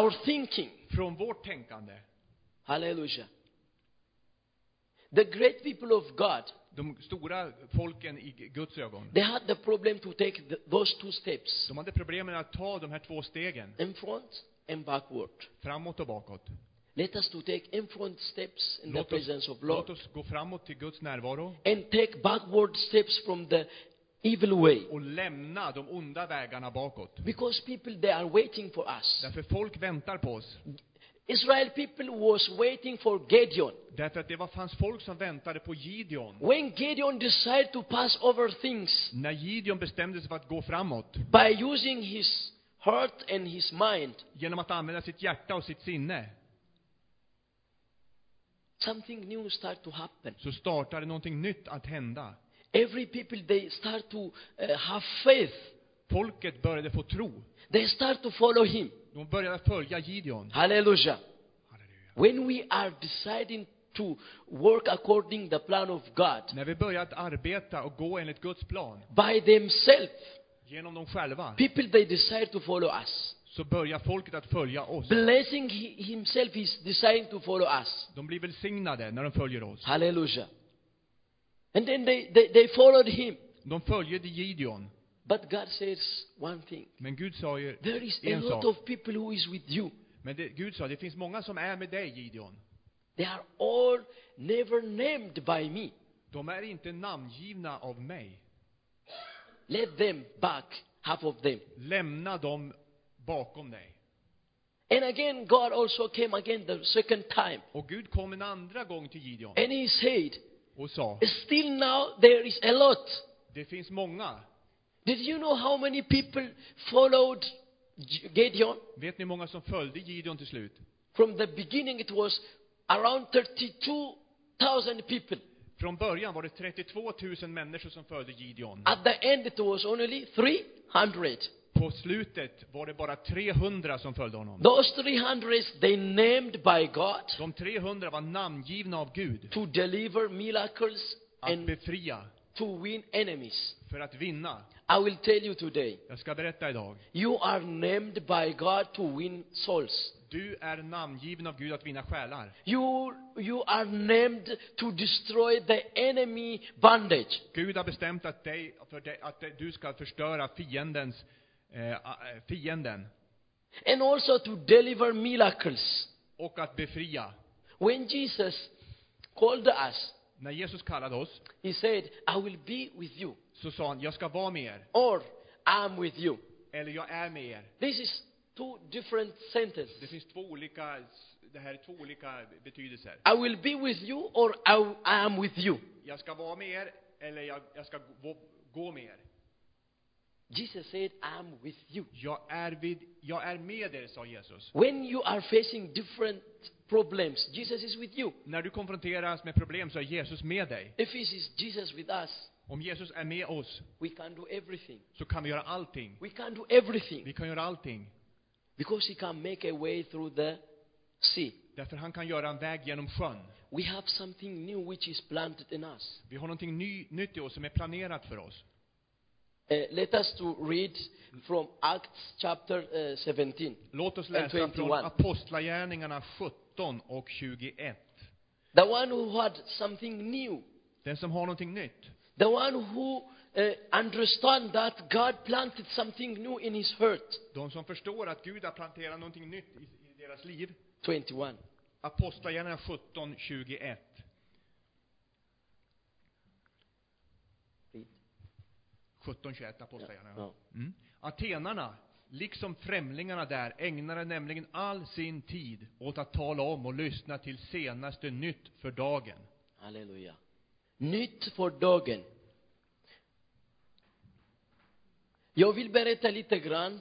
[SPEAKER 1] our thinking.
[SPEAKER 2] från vårt tänkande.
[SPEAKER 1] Hallelujah. The great people of God,
[SPEAKER 2] De stora folken i Guds ögon,
[SPEAKER 1] they had the problem to take th- those two steps
[SPEAKER 2] de hade problem med att ta de här två stegen,
[SPEAKER 1] in front and backward.
[SPEAKER 2] framåt och bakåt.
[SPEAKER 1] Let us to take in front steps in the
[SPEAKER 2] Låt
[SPEAKER 1] presence
[SPEAKER 2] oss,
[SPEAKER 1] of Lord
[SPEAKER 2] låt oss gå framåt till Guds närvaro
[SPEAKER 1] and take backward steps from the evil way.
[SPEAKER 2] och lämna de onda vägarna bakåt.
[SPEAKER 1] Because people they are waiting for us.
[SPEAKER 2] Därför folk väntar på oss.
[SPEAKER 1] Israel people was waiting for Gideon.
[SPEAKER 2] Därför att det var, fanns folk som väntade på Gideon.
[SPEAKER 1] When Gideon decided to pass over things
[SPEAKER 2] När Gideon bestämde sig för att gå framåt,
[SPEAKER 1] by using his heart and his mind,
[SPEAKER 2] genom att använda sitt hjärta och sitt sinne,
[SPEAKER 1] something new started to happen.
[SPEAKER 2] så startade någonting nytt att hända.
[SPEAKER 1] Every people they start to uh, have faith.
[SPEAKER 2] Folket började få tro.
[SPEAKER 1] They start to follow him.
[SPEAKER 2] De började följa Gideon.
[SPEAKER 1] Hallelujah.
[SPEAKER 2] Halleluja.
[SPEAKER 1] When we are deciding to work according the plan of God
[SPEAKER 2] När vi började att arbeta och gå enligt Guds plan,
[SPEAKER 1] by themselves,
[SPEAKER 2] genom dem själva,
[SPEAKER 1] people they decide to follow us.
[SPEAKER 2] så börjar folket att följa oss.
[SPEAKER 1] Blessing he- himself is deciding to follow us.
[SPEAKER 2] De blir välsignade när de följer oss.
[SPEAKER 1] Hallelujah. And then they, they, they followed him.
[SPEAKER 2] De följde Gideon.
[SPEAKER 1] But God says one thing.
[SPEAKER 2] Men Gud sa ju
[SPEAKER 1] There is a
[SPEAKER 2] en
[SPEAKER 1] lot
[SPEAKER 2] sak.
[SPEAKER 1] of people who is with you.
[SPEAKER 2] Men det, Gud sa, det finns många som är med dig Gideon.
[SPEAKER 1] They are all never named by me.
[SPEAKER 2] De är inte namngivna av mig.
[SPEAKER 1] Let them back, half of them.
[SPEAKER 2] Lämna dem bakom dig.
[SPEAKER 1] And again, God also came again the second time.
[SPEAKER 2] Och Gud kom en andra gång till Gideon
[SPEAKER 1] And he said,
[SPEAKER 2] och sa,
[SPEAKER 1] still now there is a lot.
[SPEAKER 2] det finns många.
[SPEAKER 1] Did you know how many people followed G- Gideon?
[SPEAKER 2] Vet ni hur många som följde Gideon till slut?
[SPEAKER 1] From the beginning, it was around 32,000 people.
[SPEAKER 2] Från början var det 32 000 människor som följde Gideon.
[SPEAKER 1] At the end, it was only 300.
[SPEAKER 2] På slutet var det bara 300 som följde honom.
[SPEAKER 1] Those 300, they named by God
[SPEAKER 2] De 300 var namngivna av Gud.
[SPEAKER 1] to deliver miracles
[SPEAKER 2] Att
[SPEAKER 1] and
[SPEAKER 2] befria,
[SPEAKER 1] to win enemies.
[SPEAKER 2] för att vinna.
[SPEAKER 1] I will tell you today,
[SPEAKER 2] Jag ska berätta idag.
[SPEAKER 1] you are named by God to win souls.
[SPEAKER 2] Du är namngiven av Gud att vinna själar.
[SPEAKER 1] You, you are named to destroy the enemy bondage.
[SPEAKER 2] Gud har bestämt att, dig, för dig, att du ska förstöra fiendens, eh, eh, fienden
[SPEAKER 1] And also to deliver miracles.
[SPEAKER 2] och att befria.
[SPEAKER 1] When Jesus called us,
[SPEAKER 2] När Jesus kallade oss
[SPEAKER 1] He said, I will be with you,
[SPEAKER 2] så sa han, jag ska vara med er,
[SPEAKER 1] or I'm with you.
[SPEAKER 2] eller jag är med er.
[SPEAKER 1] This is two different
[SPEAKER 2] Det
[SPEAKER 1] sentences.
[SPEAKER 2] finns två olika, det här är två olika betydelser.
[SPEAKER 1] I will be with you, or I, w- I am with you.
[SPEAKER 2] Jag ska vara med er, eller jag, jag ska gå, gå med er.
[SPEAKER 1] Jesus said, I'm with you.
[SPEAKER 2] Jag är, vid, jag är med er, sa Jesus.
[SPEAKER 1] When you are facing different problems, Jesus is with you.
[SPEAKER 2] När du konfronteras med problem så är Jesus med dig.
[SPEAKER 1] If it is Jesus with us,
[SPEAKER 2] Om Jesus är med oss
[SPEAKER 1] we can do everything.
[SPEAKER 2] så kan vi göra allting.
[SPEAKER 1] We can do everything
[SPEAKER 2] Vi kan göra allting.
[SPEAKER 1] because He can make a way through the sea.
[SPEAKER 2] Därför han kan göra en väg genom sjön.
[SPEAKER 1] We have something new which is planted in us.
[SPEAKER 2] Vi har någonting ny, nytt i oss som är planerat för oss.
[SPEAKER 1] Uh, let us to read from Acts chapter uh, 17.
[SPEAKER 2] Låt oss
[SPEAKER 1] And
[SPEAKER 2] läsa
[SPEAKER 1] 21.
[SPEAKER 2] från Apostlagärningarna 17 och 21.
[SPEAKER 1] The one who had something new,
[SPEAKER 2] Den som har någonting nytt,
[SPEAKER 1] the one who uh, understand that God planted something new in his heart.
[SPEAKER 2] de som förstår att Gud har planterat någonting nytt i, i deras liv.
[SPEAKER 1] 21.
[SPEAKER 2] Apostlagärningarna 17, 21.
[SPEAKER 1] Read.
[SPEAKER 2] 1721 Apostlagärningarna.
[SPEAKER 1] Ja.
[SPEAKER 2] Mm. Atenarna, liksom främlingarna där, ägnade nämligen all sin tid åt att tala om och lyssna till senaste nytt för dagen.
[SPEAKER 1] Halleluja. Nytt för dagen. Jag vill berätta lite grann.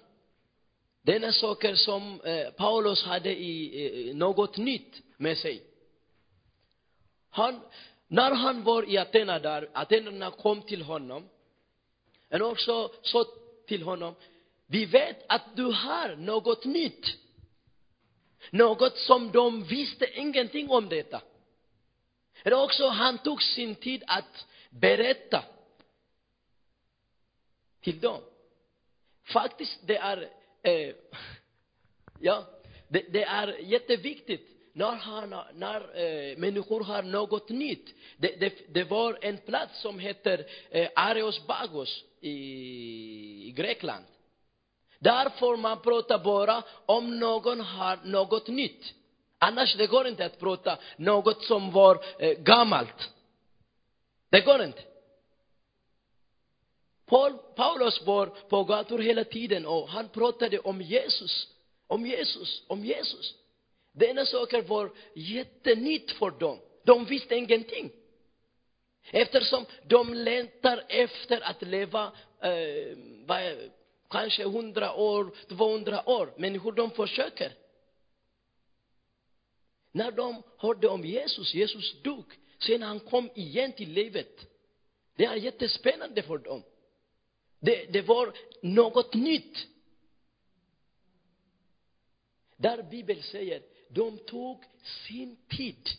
[SPEAKER 1] Denna saker som eh, Paulus hade i eh, något nytt med sig. Han, när han var i Aten där, atenerna kom till honom. Och också sa till honom, vi vet att du har något nytt. Något som de visste ingenting om detta. Men också han tog sin tid att berätta till dem. Faktiskt, det är, eh, ja, det, det är jätteviktigt när, han, har- när eh, människor har något nytt. Det, det, det var en plats som heter eh, Areosbagos i, i Grekland. Där får man prata bara om någon har något nytt. Annars det går inte att prata något som var eh, gammalt. Det går inte. Paul, Paulus var på gator hela tiden och han pratade om Jesus, om Jesus, om Jesus. Denna saker var jättenytt för dem. De visste ingenting. Eftersom de längtar efter att leva eh, vad, kanske 100 år, 200 år. Människor de försöker. När de hörde om Jesus, Jesus dog. Sen han kom igen till livet. Det är jättespännande för dem. Det, det var något nytt. Där Bibeln säger, de tog sin tid.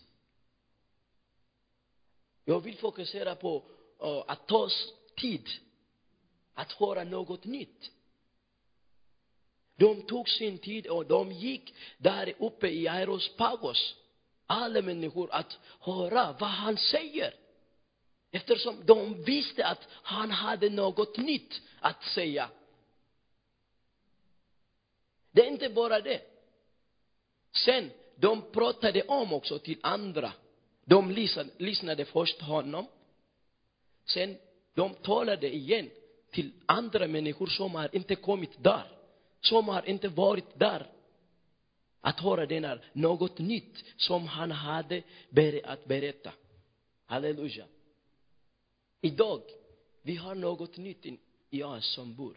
[SPEAKER 1] Jag vill fokusera på eh, att ta s- tid, att höra något nytt. De tog sin tid och de gick där uppe i Aerospagos, alla människor, att höra vad han säger. Eftersom de visste att han hade något nytt att säga. Det är inte bara det. Sen, de pratade om också till andra. De lyssnade, lyssnade först honom. Sen, de talade igen till andra människor som har inte kommit där. Som har inte varit där. Att höra denna, något nytt som han hade ber- att berätta. Halleluja. Idag, vi har något nytt in- i oss som bor.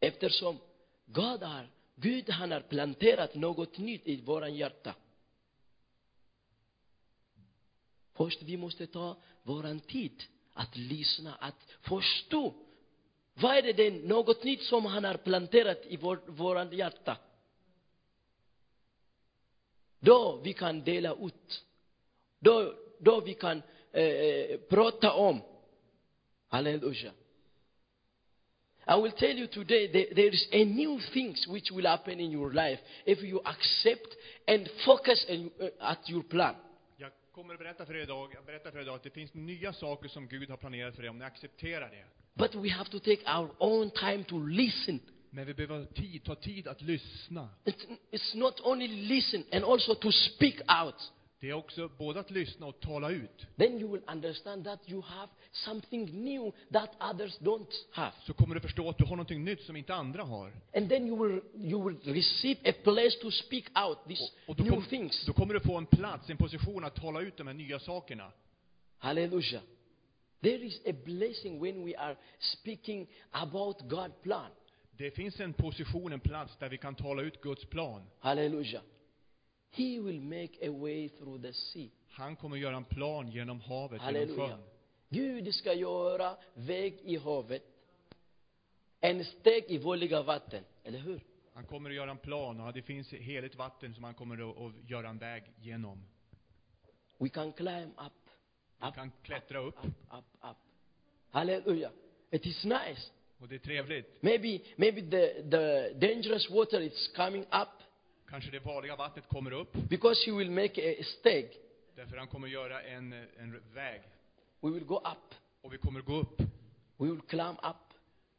[SPEAKER 1] Eftersom God har, Gud han har planterat något nytt i våran hjärta. Först vi måste ta våran tid att lyssna, att förstå. Vad är det, det något nytt som han har planterat i vår, våran hjärta? Då vi kan dela ut då, då vi kan eh, eh, prata om. Halleluja. I will tell you today that there is a new things which will happen in your life if you accept and focus in, eh, at your plan.
[SPEAKER 2] Jag kommer att berätta för er idag, jag berättar för er idag att det finns nya saker som Gud har planerat för er om ni accepterar det.
[SPEAKER 1] But we have to take our own time to listen.
[SPEAKER 2] Men vi behöver ha tid, ta tid att lyssna.
[SPEAKER 1] It's, it's not only listen and also to speak out.
[SPEAKER 2] Det är också både att lyssna och tala ut.
[SPEAKER 1] Then you will understand that you have something new that others don't have.
[SPEAKER 2] Så kommer du förstå att du har någonting nytt som inte andra har.
[SPEAKER 1] And then you will, you will receive a place to speak out these
[SPEAKER 2] Och, och då,
[SPEAKER 1] new
[SPEAKER 2] kom,
[SPEAKER 1] things.
[SPEAKER 2] då kommer du få en plats, en position att tala ut de här nya sakerna.
[SPEAKER 1] Hallelujah. There is a blessing when we are speaking about God's plan.
[SPEAKER 2] Det finns en position, en plats där vi kan tala ut Guds plan.
[SPEAKER 1] Hallelujah. He will make a way through the sea.
[SPEAKER 2] Han kommer göra en plan genom havet, genom
[SPEAKER 1] Halleluja.
[SPEAKER 2] sjön.
[SPEAKER 1] Gud ska göra väg i havet, en steg i våliga vatten. Eller hur?
[SPEAKER 2] Han kommer att göra en plan och det finns heligt vatten som han kommer att, att göra en väg genom.
[SPEAKER 1] We can climb up,
[SPEAKER 2] Du
[SPEAKER 1] up,
[SPEAKER 2] kan klättra upp
[SPEAKER 1] up, up, up. Hallelujah. It is nice.
[SPEAKER 2] och det är trevligt.
[SPEAKER 1] Maybe, maybe the, the dangerous water is coming up
[SPEAKER 2] Kanske det farliga vattnet kommer upp
[SPEAKER 1] because he will make a steg.
[SPEAKER 2] därför han kommer att göra en, en väg.
[SPEAKER 1] We will go up.
[SPEAKER 2] Och vi kommer att gå upp.
[SPEAKER 1] We will climb up.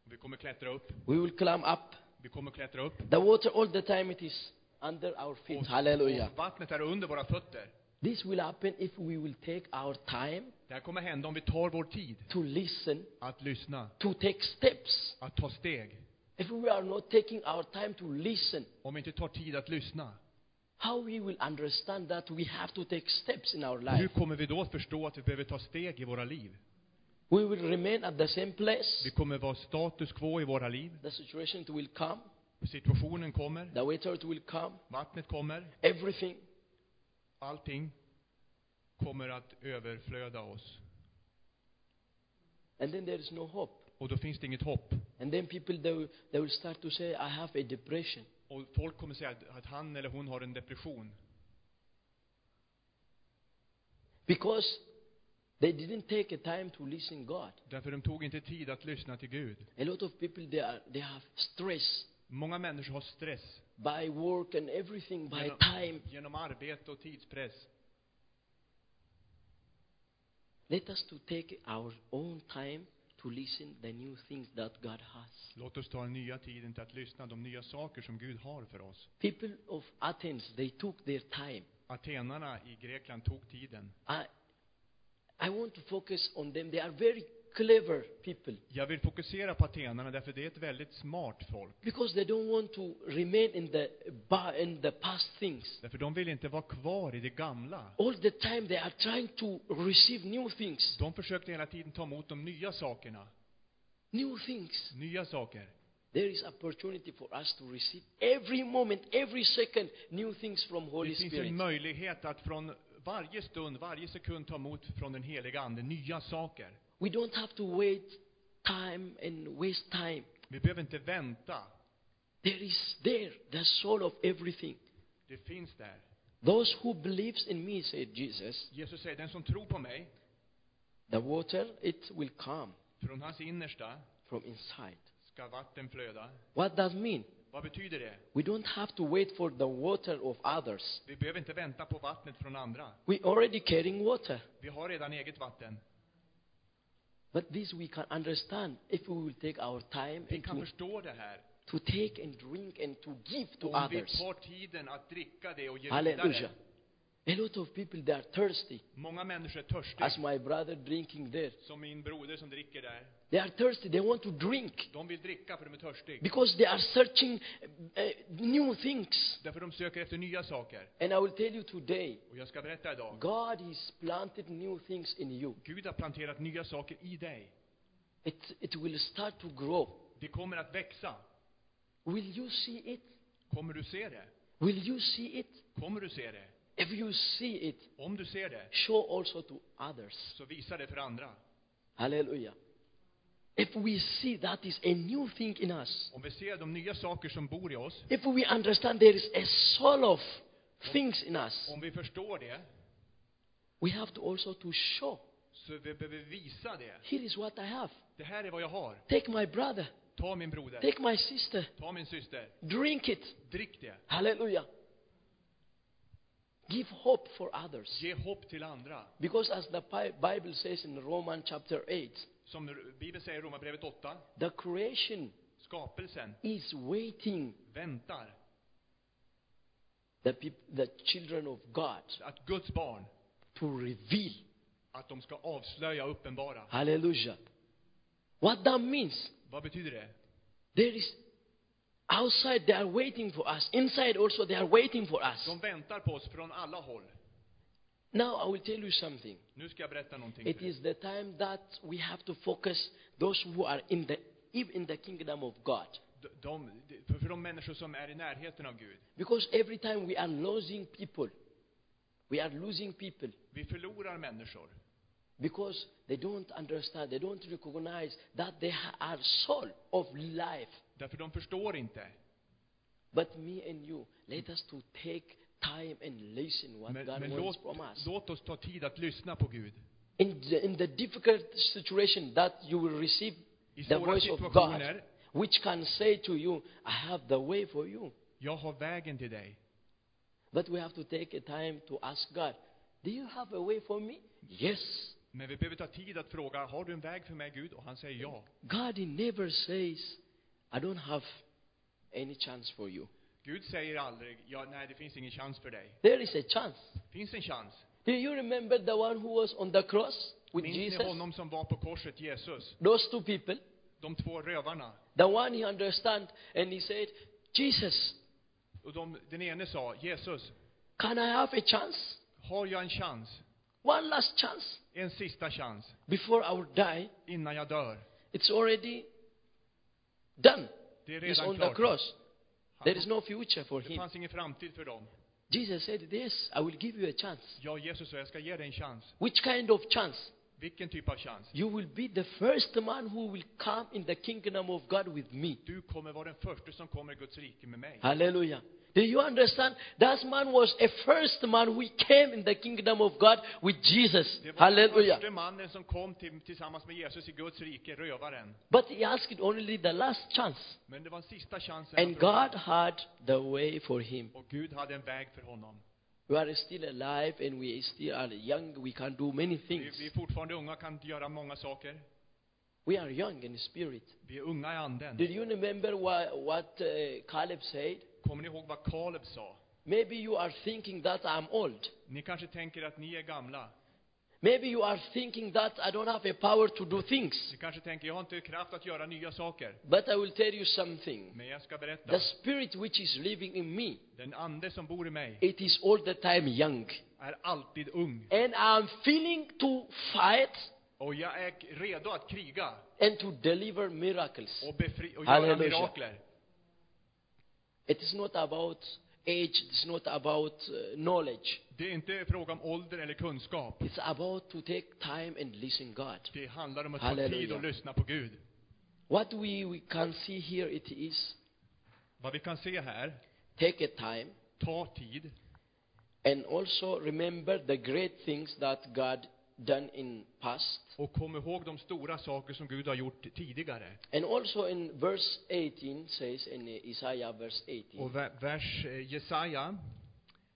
[SPEAKER 2] Vi kommer att klättra upp.
[SPEAKER 1] We will climb up.
[SPEAKER 2] Vi kommer att klättra upp.
[SPEAKER 1] The water all the time it is under our feet. Hallelujah.
[SPEAKER 2] Och vattnet är under våra fötter.
[SPEAKER 1] This will happen if we will take our time
[SPEAKER 2] Det här kommer hända om vi tar vår tid
[SPEAKER 1] to listen,
[SPEAKER 2] att lyssna,
[SPEAKER 1] to take steps.
[SPEAKER 2] att ta steg.
[SPEAKER 1] If we are not taking our time to listen,
[SPEAKER 2] Om vi inte tar tid att lyssna,
[SPEAKER 1] how we will understand that we have to take steps in our
[SPEAKER 2] hur
[SPEAKER 1] life?
[SPEAKER 2] kommer vi då att förstå att vi behöver ta steg i våra liv?
[SPEAKER 1] We will remain at the same
[SPEAKER 2] Vi
[SPEAKER 1] place.
[SPEAKER 2] kommer vara status quo i våra liv.
[SPEAKER 1] The situation will come.
[SPEAKER 2] Situationen kommer,
[SPEAKER 1] The waiter will come.
[SPEAKER 2] vattnet kommer,
[SPEAKER 1] Everything.
[SPEAKER 2] allting kommer att överflöda oss.
[SPEAKER 1] And then there is no hope.
[SPEAKER 2] Och då finns det inget hopp.
[SPEAKER 1] And then people, they will, they will start to say, I have a depression.
[SPEAKER 2] Och folk kommer säga att, att han eller hon har en depression.
[SPEAKER 1] Because they didn't take a time to listen God.
[SPEAKER 2] Därför de tog inte tid att lyssna till Gud.
[SPEAKER 1] A lot of people, they, are, they have stress
[SPEAKER 2] Många människor har stress
[SPEAKER 1] by work and everything, by
[SPEAKER 2] genom,
[SPEAKER 1] time.
[SPEAKER 2] genom arbete och tidspress.
[SPEAKER 1] Let us to take our own time to listen the new things that God has.
[SPEAKER 2] Låt oss ta den nya tiden till att lyssna de nya saker som Gud har för oss.
[SPEAKER 1] People of Athens, they took their time.
[SPEAKER 2] Atenarna i Grekland tog tiden.
[SPEAKER 1] I, I want to focus on them. They are very clever people
[SPEAKER 2] Jag vill fokusera på atenarna därför det är ett väldigt smart folk.
[SPEAKER 1] because they don't want to remain in the ba- in the past things.
[SPEAKER 2] Därför de vill inte vara kvar i det gamla.
[SPEAKER 1] All the time they are trying to receive new things,
[SPEAKER 2] De försökte hela tiden ta emot de nya sakerna.
[SPEAKER 1] new things.
[SPEAKER 2] Nya saker.
[SPEAKER 1] There is opportunity for us to receive every moment, every second, new things from Holy
[SPEAKER 2] Det finns en
[SPEAKER 1] Spirit.
[SPEAKER 2] möjlighet att från varje stund, varje sekund ta emot från den heliga Ande nya saker.
[SPEAKER 1] We don't have to wait time and waste time.
[SPEAKER 2] Vi behöver inte vänta.
[SPEAKER 1] There is there the soul of everything.
[SPEAKER 2] Det finns där.
[SPEAKER 1] Those who believes in me, said Jesus,
[SPEAKER 2] Jesus säger, den som tror på mig,
[SPEAKER 1] the water it will come
[SPEAKER 2] från hans innersta
[SPEAKER 1] from inside.
[SPEAKER 2] ska vatten flöda.
[SPEAKER 1] What does mean?
[SPEAKER 2] Vad betyder det?
[SPEAKER 1] We don't have to wait for the water of others.
[SPEAKER 2] Vi behöver inte vänta på vattnet från andra.
[SPEAKER 1] We already carrying water,
[SPEAKER 2] Vi har redan eget vatten.
[SPEAKER 1] but this we can understand if we will take our time
[SPEAKER 2] Vi
[SPEAKER 1] and
[SPEAKER 2] kan
[SPEAKER 1] to,
[SPEAKER 2] förstå det här.
[SPEAKER 1] to take and drink and to give to
[SPEAKER 2] Om vi
[SPEAKER 1] others.
[SPEAKER 2] tar tiden att dricka det och ge
[SPEAKER 1] Hallelujah.
[SPEAKER 2] vidare.
[SPEAKER 1] A lot of people they are thirsty,
[SPEAKER 2] Många människor är
[SPEAKER 1] as
[SPEAKER 2] törstiga.
[SPEAKER 1] my brother drinking there.
[SPEAKER 2] Som min broder som dricker där.
[SPEAKER 1] They are thirsty. They want to drink
[SPEAKER 2] De vill dricka för de är törstiga.
[SPEAKER 1] because they are searching uh, new things.
[SPEAKER 2] Därför de söker efter nya saker.
[SPEAKER 1] And I will tell you today,
[SPEAKER 2] Och jag ska berätta idag.
[SPEAKER 1] God has planted new things in you.
[SPEAKER 2] Gud har planterat nya saker i dig.
[SPEAKER 1] It, it will start to grow.
[SPEAKER 2] Det kommer att växa.
[SPEAKER 1] Will you see it?
[SPEAKER 2] Kommer du se det?
[SPEAKER 1] Will you see it?
[SPEAKER 2] Kommer du se det?
[SPEAKER 1] If you see it,
[SPEAKER 2] Om du ser det,
[SPEAKER 1] show also to others.
[SPEAKER 2] så visa det för andra.
[SPEAKER 1] Hallelujah. If we see that is a new thing in us,
[SPEAKER 2] Om vi ser de nya saker som bor i oss,
[SPEAKER 1] if we understand there is a soul of things in us,
[SPEAKER 2] om vi förstår det,
[SPEAKER 1] we have to also to show.
[SPEAKER 2] så vi behöver visa det.
[SPEAKER 1] Here is what I have.
[SPEAKER 2] Det här är vad jag har.
[SPEAKER 1] Take my brother.
[SPEAKER 2] Ta min broder.
[SPEAKER 1] Take my sister.
[SPEAKER 2] Ta min syster.
[SPEAKER 1] Drink it.
[SPEAKER 2] Drick det.
[SPEAKER 1] Hallelujah. Give hope for others.
[SPEAKER 2] Ge hopp till andra.
[SPEAKER 1] Because as the Bi- Bible says in Romans chapter 8,
[SPEAKER 2] Som Bibeln säger i Romarbrevet 8,
[SPEAKER 1] the creation
[SPEAKER 2] skapelsen
[SPEAKER 1] is waiting
[SPEAKER 2] väntar
[SPEAKER 1] the, peop- the children of God
[SPEAKER 2] att Guds barn,
[SPEAKER 1] to reveal.
[SPEAKER 2] att de ska avslöja och uppenbara.
[SPEAKER 1] Hallelujah. What that means,
[SPEAKER 2] Vad betyder det?
[SPEAKER 1] there is outside they are waiting for us, inside also they are waiting for us.
[SPEAKER 2] De väntar på oss från alla håll.
[SPEAKER 1] Now I will tell you something.
[SPEAKER 2] Nu ska jag berätta någonting
[SPEAKER 1] It
[SPEAKER 2] för er.
[SPEAKER 1] is the time that we have to focus those who are in the even in the kingdom of God.
[SPEAKER 2] De- De, för- för de människor som är i närheten av Gud.
[SPEAKER 1] Because every time we are losing people, we are losing people
[SPEAKER 2] Vi förlorar människor.
[SPEAKER 1] because they don't understand, they don't recognize that they ha- are soul of life.
[SPEAKER 2] Därför de förstår inte.
[SPEAKER 1] But me and you, let us to take time and listen what
[SPEAKER 2] Men,
[SPEAKER 1] God
[SPEAKER 2] men
[SPEAKER 1] wants
[SPEAKER 2] låt,
[SPEAKER 1] from us.
[SPEAKER 2] låt oss ta tid att lyssna på Gud.
[SPEAKER 1] In the, in the difficult situation that you will receive
[SPEAKER 2] I
[SPEAKER 1] the
[SPEAKER 2] svåra
[SPEAKER 1] voice of God,
[SPEAKER 2] situationer.
[SPEAKER 1] which can say to you, I have the way for you.
[SPEAKER 2] Jag har vägen till dig.
[SPEAKER 1] But we have to take a time to ask God, do you have a way for me? Yes.
[SPEAKER 2] Men vi behöver ta tid att fråga, har du en väg för mig Gud? Och han säger ja.
[SPEAKER 1] God he never says, I don't have any chance for you.
[SPEAKER 2] Gud säger aldrig, ja, nej det finns ingen chans för dig.
[SPEAKER 1] There is a chance.
[SPEAKER 2] Finns en chans.
[SPEAKER 1] Do you remember the one who was on the cross with
[SPEAKER 2] Minns
[SPEAKER 1] Jesus?
[SPEAKER 2] ni honom som var på korset, Jesus?
[SPEAKER 1] Those two people.
[SPEAKER 2] De två rövarna.
[SPEAKER 1] The one he understand and he said, Jesus,
[SPEAKER 2] Och de, den ene sa, Jesus,
[SPEAKER 1] can I have a chance?
[SPEAKER 2] har jag en chans?
[SPEAKER 1] One last chance
[SPEAKER 2] En sista chans
[SPEAKER 1] before I will die.
[SPEAKER 2] innan jag dör.
[SPEAKER 1] It's already done.
[SPEAKER 2] Det är
[SPEAKER 1] He's
[SPEAKER 2] redan
[SPEAKER 1] on the
[SPEAKER 2] klart.
[SPEAKER 1] cross.
[SPEAKER 2] Han-
[SPEAKER 1] There is no future for
[SPEAKER 2] det
[SPEAKER 1] him.
[SPEAKER 2] fanns ingen framtid för dem.
[SPEAKER 1] Jesus said, Yes, I will give you a chance.
[SPEAKER 2] Ja, Jesus sa, jag ska ge dig en chans.
[SPEAKER 1] Which kind of chance?
[SPEAKER 2] Vilken typ av chans?
[SPEAKER 1] You will be the first man who will come in the kingdom of God with me.
[SPEAKER 2] Du kommer vara den första som kommer i Guds rike med mig.
[SPEAKER 1] Hallelujah. Do you understand? That man was a first man who came in the kingdom of God with Jesus.
[SPEAKER 2] Det var den
[SPEAKER 1] Hallelujah.
[SPEAKER 2] första mannen som kom till, tillsammans med Jesus i Guds rike, rövaren.
[SPEAKER 1] But he asked only the last chance.
[SPEAKER 2] Men det var en sista chansen.
[SPEAKER 1] And
[SPEAKER 2] för honom.
[SPEAKER 1] God had the way for him.
[SPEAKER 2] Och Gud hade en väg för honom.
[SPEAKER 1] We are still alive and we still are young. We can do many
[SPEAKER 2] Vi,
[SPEAKER 1] things.
[SPEAKER 2] vi är fortfarande unga, kan inte göra många saker.
[SPEAKER 1] We are young in spirit.
[SPEAKER 2] Vi är unga i anden.
[SPEAKER 1] Did you remember what, what uh, Caleb said?
[SPEAKER 2] Kommer ni ihåg vad Kaleb sa?
[SPEAKER 1] Maybe you are thinking that I'm old.
[SPEAKER 2] Ni kanske tänker att ni är gamla.
[SPEAKER 1] Maybe you are thinking that I don't have a power to do things.
[SPEAKER 2] Ni kanske tänker, jag har inte kraft att göra nya saker.
[SPEAKER 1] But I will tell you something.
[SPEAKER 2] Men jag ska berätta.
[SPEAKER 1] The spirit which is living in me,
[SPEAKER 2] Den ande som bor i mig
[SPEAKER 1] it is all the time young.
[SPEAKER 2] är alltid ung.
[SPEAKER 1] And I'm feeling to fight
[SPEAKER 2] Och jag är redo att kriga
[SPEAKER 1] and to deliver miracles.
[SPEAKER 2] och, befri- och göra
[SPEAKER 1] Halleluja.
[SPEAKER 2] mirakler.
[SPEAKER 1] It is not about age, it is not about uh, knowledge.
[SPEAKER 2] Det är inte fråga om ålder eller kunskap.
[SPEAKER 1] It's about to take time and listen God.
[SPEAKER 2] Det handlar om att ta
[SPEAKER 1] Halleluja.
[SPEAKER 2] tid och lyssna på Gud.
[SPEAKER 1] What we, we can see here it is
[SPEAKER 2] Vad vi kan se här,
[SPEAKER 1] take a time
[SPEAKER 2] ta tid.
[SPEAKER 1] and also remember the great things that God done in past.
[SPEAKER 2] Och kom ihåg de stora saker som Gud har gjort tidigare.
[SPEAKER 1] And also in verse 18 says in Isaiah verse 18,
[SPEAKER 2] Och ve- vers eh, Jesaja,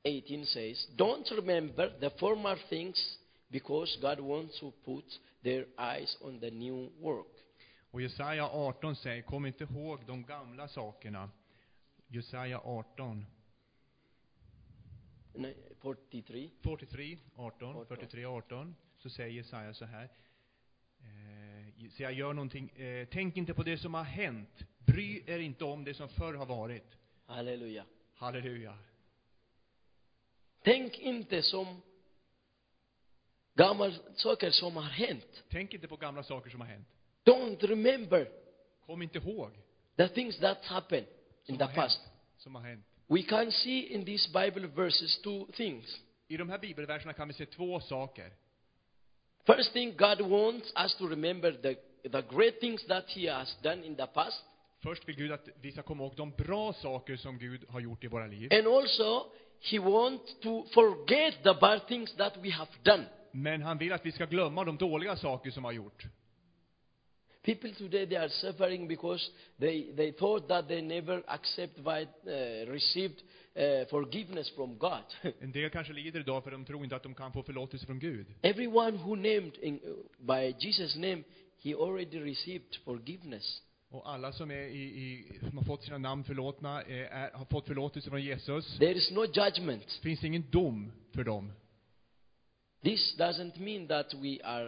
[SPEAKER 1] 18 says, don't remember the former things because God wants to put their eyes on the new work.
[SPEAKER 2] och Jesaja 18 säger, kom inte ihåg de gamla sakerna. Jesaja 18,
[SPEAKER 1] Ni- 43.
[SPEAKER 2] 43, 18,
[SPEAKER 1] 18.
[SPEAKER 2] 43, 18, så säger Jesaja så här. Eh, så jag gör någonting, eh, tänk inte på det som har hänt. Bry er inte om det som förr har varit.
[SPEAKER 1] Halleluja.
[SPEAKER 2] Halleluja.
[SPEAKER 1] Tänk inte som gamla saker som har hänt.
[SPEAKER 2] Tänk inte på gamla saker som har hänt.
[SPEAKER 1] Don't remember
[SPEAKER 2] Kom inte ihåg
[SPEAKER 1] the things that happened in
[SPEAKER 2] som
[SPEAKER 1] the
[SPEAKER 2] har,
[SPEAKER 1] past.
[SPEAKER 2] hänt, som har hänt.
[SPEAKER 1] We can see in these Bible verses two things.
[SPEAKER 2] I de här bibelverserna kan vi se två saker.
[SPEAKER 1] First thing, God wants us to remember the, the great things that He has done in the past.
[SPEAKER 2] Först vill Gud att vi ska komma ihåg de bra saker som Gud har gjort i våra liv.
[SPEAKER 1] And also, He wants to forget the bad things that we have done.
[SPEAKER 2] Men han vill att vi ska glömma de dåliga saker som har gjort.
[SPEAKER 1] People today, they are suffering because they, they thought that they never accept, by, uh, received uh, forgiveness from God.
[SPEAKER 2] En del kanske lider idag för de tror inte att de kan få förlåtelse från Gud.
[SPEAKER 1] uh, Everyone who named in, by Jesus' name, he already received forgiveness.
[SPEAKER 2] Och alla som, är i, i, som har fått sina namn förlåtna eh, är, har fått förlåtelse från Jesus.
[SPEAKER 1] There is no judgment.
[SPEAKER 2] finns ingen dom för dem.
[SPEAKER 1] This doesn't mean that we are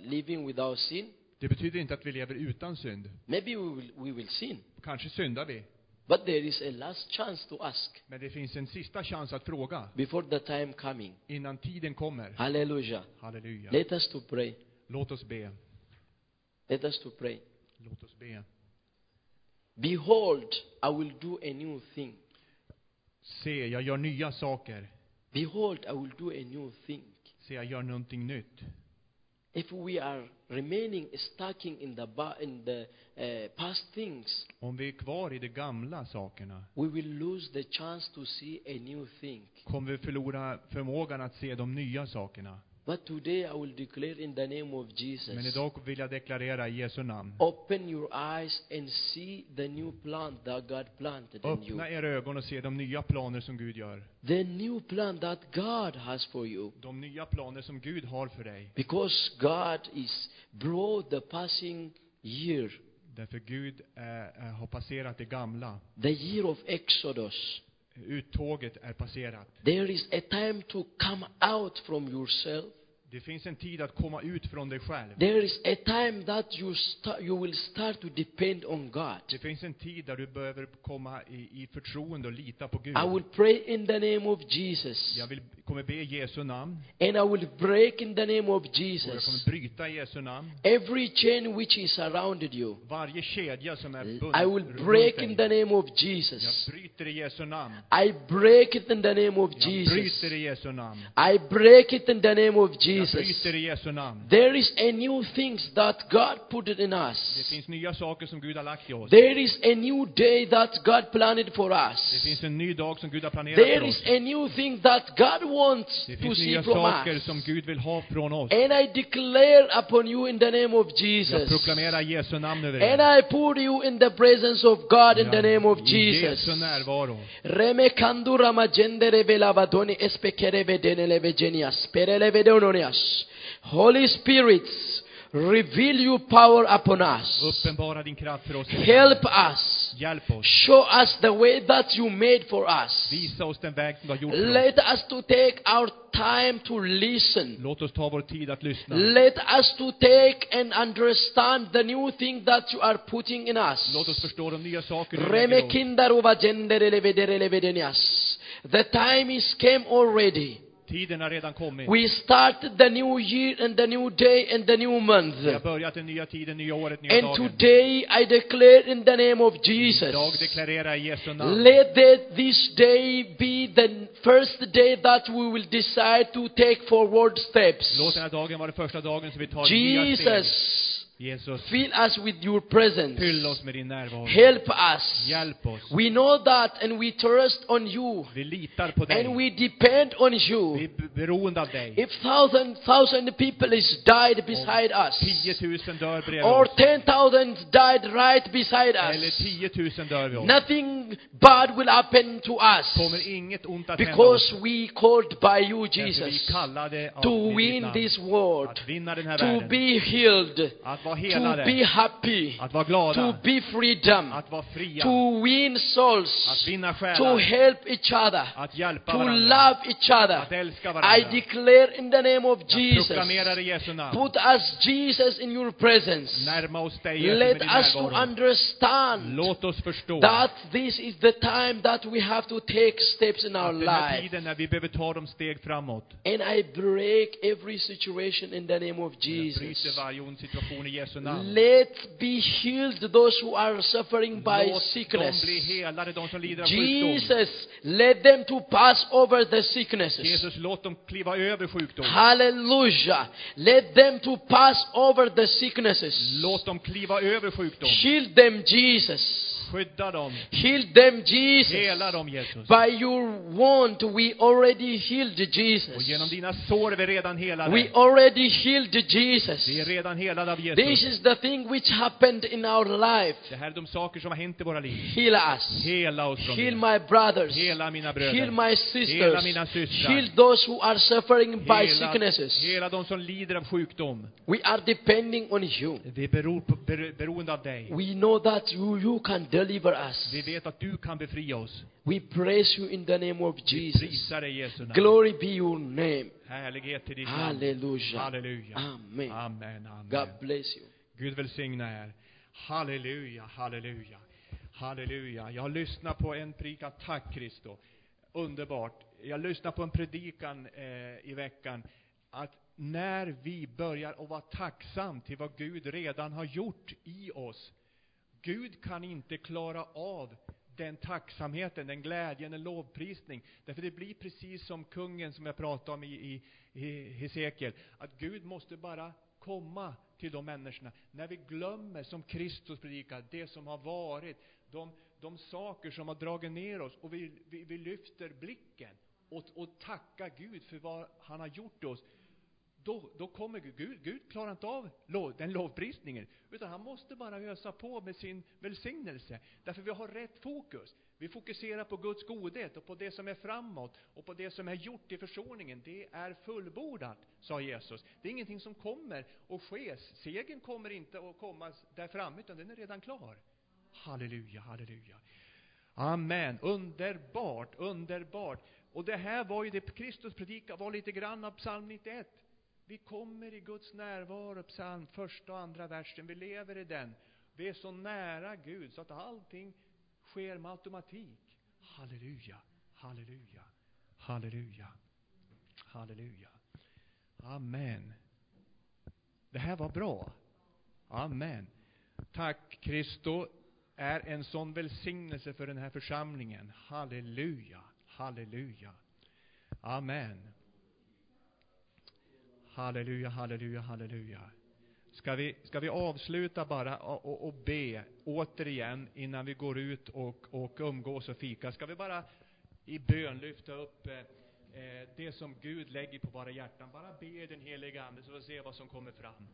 [SPEAKER 1] uh, living without sin.
[SPEAKER 2] Det betyder inte att vi lever utan synd.
[SPEAKER 1] Maybe we will, we will sin,
[SPEAKER 2] Kanske syndar vi.
[SPEAKER 1] but there is a last chance to ask
[SPEAKER 2] Men det finns en sista chans att fråga
[SPEAKER 1] before the time coming.
[SPEAKER 2] innan tiden kommer.
[SPEAKER 1] Hallelujah.
[SPEAKER 2] Halleluja.
[SPEAKER 1] Let us to pray.
[SPEAKER 2] Låt oss be.
[SPEAKER 1] Let us to pray.
[SPEAKER 2] Låt oss be.
[SPEAKER 1] Behold, I will do a new thing.
[SPEAKER 2] Se, jag gör nya saker.
[SPEAKER 1] Behold, I will do a new thing.
[SPEAKER 2] Se, jag gör någonting nytt.
[SPEAKER 1] If we are remaining stuck in the, ba- in the uh, past things,
[SPEAKER 2] Om vi är kvar i de gamla sakerna
[SPEAKER 1] we will lose the chance to see a new thing.
[SPEAKER 2] kommer vi förlora förmågan att se de nya sakerna.
[SPEAKER 1] But today I will declare in the name of Jesus.
[SPEAKER 2] Men idag vill jag deklarera i Jesu namn.
[SPEAKER 1] Open your eyes and see the new plant that God planted in you.
[SPEAKER 2] Öppna era ögon och se de nya planer som Gud gör.
[SPEAKER 1] The new plant that God has for you.
[SPEAKER 2] De nya planer som Gud har för dig.
[SPEAKER 1] Because God is brought the passing year,
[SPEAKER 2] Därför Gud eh, eh, har passerat det gamla.
[SPEAKER 1] the year of Exodus.
[SPEAKER 2] Uttåget är passerat.
[SPEAKER 1] There is a time to come out from yourself.
[SPEAKER 2] Det finns en tid att komma ut från dig själv.
[SPEAKER 1] There is a time that you, start, you will start to depend on God.
[SPEAKER 2] Det finns en tid där du behöver komma i, i förtroende och lita på Gud.
[SPEAKER 1] I will pray in the name of Jesus.
[SPEAKER 2] Jag vill, kommer be i Jesu namn.
[SPEAKER 1] And I will break in the name of
[SPEAKER 2] Och jag
[SPEAKER 1] Jesus
[SPEAKER 2] kommer bryta i Jesu namn.
[SPEAKER 1] every chain which is surrounded you.
[SPEAKER 2] Varje kedja som är bunden
[SPEAKER 1] I will
[SPEAKER 2] runt
[SPEAKER 1] break
[SPEAKER 2] dig.
[SPEAKER 1] in the name of
[SPEAKER 2] Jag
[SPEAKER 1] Jesus.
[SPEAKER 2] bryter i Jesu namn.
[SPEAKER 1] I break it in the name of
[SPEAKER 2] Jag bryter
[SPEAKER 1] Jesus.
[SPEAKER 2] i Jesu namn.
[SPEAKER 1] I break it in the name of
[SPEAKER 2] Jag
[SPEAKER 1] Jesus.
[SPEAKER 2] bryter i Jesu namn.
[SPEAKER 1] There is a new things that God put it in
[SPEAKER 2] Det
[SPEAKER 1] us.
[SPEAKER 2] finns nya saker som Gud har lagt i oss.
[SPEAKER 1] There is a new day that God planned for
[SPEAKER 2] Det
[SPEAKER 1] us.
[SPEAKER 2] finns en ny dag som Gud har planerat
[SPEAKER 1] There
[SPEAKER 2] för
[SPEAKER 1] is
[SPEAKER 2] oss.
[SPEAKER 1] a new thing that God wants
[SPEAKER 2] Det
[SPEAKER 1] to
[SPEAKER 2] finns
[SPEAKER 1] see
[SPEAKER 2] nya
[SPEAKER 1] from
[SPEAKER 2] saker som
[SPEAKER 1] us.
[SPEAKER 2] Gud vill ha från oss.
[SPEAKER 1] And I declare upon you in the name of
[SPEAKER 2] Jag
[SPEAKER 1] Jesus.
[SPEAKER 2] proklamerar Jesu namn över
[SPEAKER 1] And
[SPEAKER 2] er.
[SPEAKER 1] I put you in the presence of God in the name of
[SPEAKER 2] I
[SPEAKER 1] Jesus.
[SPEAKER 2] Jesu närvaro.
[SPEAKER 1] Reme kandura majende rebe lavadoni espekerebe deneleve genias pereleve deononias. Holy Spirit, reveal your power upon us.
[SPEAKER 2] Uppenbara din kraft för oss.
[SPEAKER 1] Help us.
[SPEAKER 2] Hjälp oss.
[SPEAKER 1] Show us the way that you made for us.
[SPEAKER 2] Visa oss den väg som du har gjort för oss.
[SPEAKER 1] Let us to take our time to listen.
[SPEAKER 2] Låt oss ta vår tid att lyssna.
[SPEAKER 1] Let us to take and understand the new thing that you are putting in us.
[SPEAKER 2] Låt oss förstå de nya saker du lägger i oss.
[SPEAKER 1] Remekindarova genderelevedelelevedenias. The time is came already.
[SPEAKER 2] Tiden har redan kommit.
[SPEAKER 1] We started the new year and the new day and the new month.
[SPEAKER 2] Vi har börjat den nya tiden, nya året, nya
[SPEAKER 1] And
[SPEAKER 2] dagen.
[SPEAKER 1] today I declare in the name of Jesus.
[SPEAKER 2] Idag deklarerar jag i Jesu namn.
[SPEAKER 1] Let that this day be the first day that we will decide to take forward steps.
[SPEAKER 2] Låt den här dagen vara den första dagen som vi tar nya steg.
[SPEAKER 1] Jesus,
[SPEAKER 2] Jesus,
[SPEAKER 1] fill us with your presence.
[SPEAKER 2] fyll oss med din närvaro.
[SPEAKER 1] Help us.
[SPEAKER 2] Hjälp oss.
[SPEAKER 1] We know that and we trust on you.
[SPEAKER 2] Vi litar på
[SPEAKER 1] And
[SPEAKER 2] dig.
[SPEAKER 1] we depend on
[SPEAKER 2] Vi är
[SPEAKER 1] you.
[SPEAKER 2] b- beroende av dig.
[SPEAKER 1] If thousand thousand people is died beside us,
[SPEAKER 2] 10 000 dör bredvid
[SPEAKER 1] or
[SPEAKER 2] oss.
[SPEAKER 1] ten thousand died right beside
[SPEAKER 2] Eller
[SPEAKER 1] us,
[SPEAKER 2] 10 000 dör vid oss.
[SPEAKER 1] nothing bad will happen to us
[SPEAKER 2] Kommer inget ont att hända oss.
[SPEAKER 1] because we called by you,
[SPEAKER 2] Därför vi
[SPEAKER 1] Jesus,
[SPEAKER 2] kallade av
[SPEAKER 1] to
[SPEAKER 2] ditt
[SPEAKER 1] win
[SPEAKER 2] namn.
[SPEAKER 1] this world,
[SPEAKER 2] Att vinna den här
[SPEAKER 1] to
[SPEAKER 2] världen.
[SPEAKER 1] be healed,
[SPEAKER 2] Att vara
[SPEAKER 1] to be
[SPEAKER 2] helade.
[SPEAKER 1] happy,
[SPEAKER 2] Att vara
[SPEAKER 1] to
[SPEAKER 2] glada.
[SPEAKER 1] be freedom,
[SPEAKER 2] Att vara fria.
[SPEAKER 1] to win
[SPEAKER 2] Att
[SPEAKER 1] souls,
[SPEAKER 2] vinna
[SPEAKER 1] to
[SPEAKER 2] själar.
[SPEAKER 1] help each other.
[SPEAKER 2] Att hjälpa
[SPEAKER 1] to
[SPEAKER 2] varandra.
[SPEAKER 1] love each other.
[SPEAKER 2] Att älska
[SPEAKER 1] I
[SPEAKER 2] varandra.
[SPEAKER 1] declare in the name of
[SPEAKER 2] Jag
[SPEAKER 1] Jesus,
[SPEAKER 2] proklamerar i Jesu namn.
[SPEAKER 1] put us, Jesus, in your presence.
[SPEAKER 2] Närma oss dig Jesu, med
[SPEAKER 1] Let
[SPEAKER 2] din
[SPEAKER 1] us to
[SPEAKER 2] närvaro.
[SPEAKER 1] understand
[SPEAKER 2] Låt oss förstå
[SPEAKER 1] that this is the time that we have to take steps in our
[SPEAKER 2] att den här
[SPEAKER 1] life.
[SPEAKER 2] tiden när vi behöver ta de steg framåt.
[SPEAKER 1] And I break every situation in the name of
[SPEAKER 2] Jag bryter
[SPEAKER 1] Jesus.
[SPEAKER 2] varje ond situation i Jesu namn.
[SPEAKER 1] Let be healed those who are suffering by
[SPEAKER 2] Låt
[SPEAKER 1] sickness.
[SPEAKER 2] de bli helade, de som lider av sjukdom.
[SPEAKER 1] Jesus, let them to pass over the sicknesses.
[SPEAKER 2] Jesus, låt dem kliva över sjukdom.
[SPEAKER 1] Hallelujah. Let them to pass over the sicknesses.
[SPEAKER 2] Låt dem kliva över sjukdom.
[SPEAKER 1] Shield them, Jesus.
[SPEAKER 2] Skydda dem.
[SPEAKER 1] Heal them,
[SPEAKER 2] Hela
[SPEAKER 1] Jesus.
[SPEAKER 2] dem, Jesus.
[SPEAKER 1] By your wound, we already healed
[SPEAKER 2] Och
[SPEAKER 1] Jesus.
[SPEAKER 2] genom dina sår är vi redan helade.
[SPEAKER 1] We already healed
[SPEAKER 2] Vi är
[SPEAKER 1] Jesus.
[SPEAKER 2] redan helade av
[SPEAKER 1] This
[SPEAKER 2] Jesus.
[SPEAKER 1] is the thing which happened in our life.
[SPEAKER 2] Det här är de saker som har hänt i våra liv.
[SPEAKER 1] Heal us.
[SPEAKER 2] Hela oss från
[SPEAKER 1] Heal
[SPEAKER 2] det.
[SPEAKER 1] my brothers.
[SPEAKER 2] Hela mina
[SPEAKER 1] Heal
[SPEAKER 2] bröder.
[SPEAKER 1] my
[SPEAKER 2] Hela
[SPEAKER 1] sisters.
[SPEAKER 2] mina systrar.
[SPEAKER 1] Heal those who are suffering by
[SPEAKER 2] Hela,
[SPEAKER 1] sicknesses.
[SPEAKER 2] hela de som lider av sjukdom.
[SPEAKER 1] We are depending on you.
[SPEAKER 2] Vi beror på, ber, beroende av dig.
[SPEAKER 1] We know that you, you can deliver us.
[SPEAKER 2] Vi vet att du kan befria oss.
[SPEAKER 1] We praise you in the name of
[SPEAKER 2] Vi
[SPEAKER 1] Jesus.
[SPEAKER 2] prisar dig, Jesu namn.
[SPEAKER 1] Glory be your name.
[SPEAKER 2] Härlighet till ditt namn.
[SPEAKER 1] Hallelujah.
[SPEAKER 2] Halleluja.
[SPEAKER 1] Amen.
[SPEAKER 2] Amen, amen.
[SPEAKER 1] God bless you.
[SPEAKER 2] Gud välsigna er. Halleluja, halleluja, halleluja. Jag lyssnar på en predikan, tack Kristo. Underbart. Jag lyssnar på en predikan eh, i veckan, att när vi börjar att vara tacksam till vad Gud redan har gjort i oss, Gud kan inte klara av den tacksamheten, den glädjen, den lovprisning. Därför det blir precis som kungen som jag pratade om i, i, i Hesekiel, att Gud måste bara komma till de människorna. När vi glömmer, som Kristus predikar, det som har varit, de, de saker som har dragit ner oss, och vi, vi, vi lyfter blicken och, och tackar Gud för vad han har gjort oss, då, då kommer Gud. Gud. Gud klarar inte av lov, den lovprisningen, utan han måste bara ösa på med sin välsignelse. Därför vi har rätt fokus. Vi fokuserar på Guds godhet och på det som är framåt och på det som är gjort i försoningen. Det är fullbordat, sa Jesus. Det är ingenting som kommer och sker. Segern kommer inte att komma där framme, utan den är redan klar. Halleluja, halleluja. Amen. Underbart, underbart. Och det här var ju det Kristus predikade, var lite grann av psalm 91. Vi kommer i Guds närvaro, psalm första och andra versen. Vi lever i den. Vi är så nära Gud så att allting sker med automatik. Halleluja, halleluja, halleluja, halleluja. Amen. Det här var bra. Amen. Tack Kristo är en sån välsignelse för den här församlingen. Halleluja, halleluja. Amen. Halleluja, halleluja, halleluja. Ska vi, ska vi avsluta bara och, och, och be återigen innan vi går ut och, och umgås och fika? Ska vi bara i bön lyfta upp eh, eh, det som Gud lägger på våra hjärtan? Bara be i den heliga Ande så får vi se vad som kommer fram.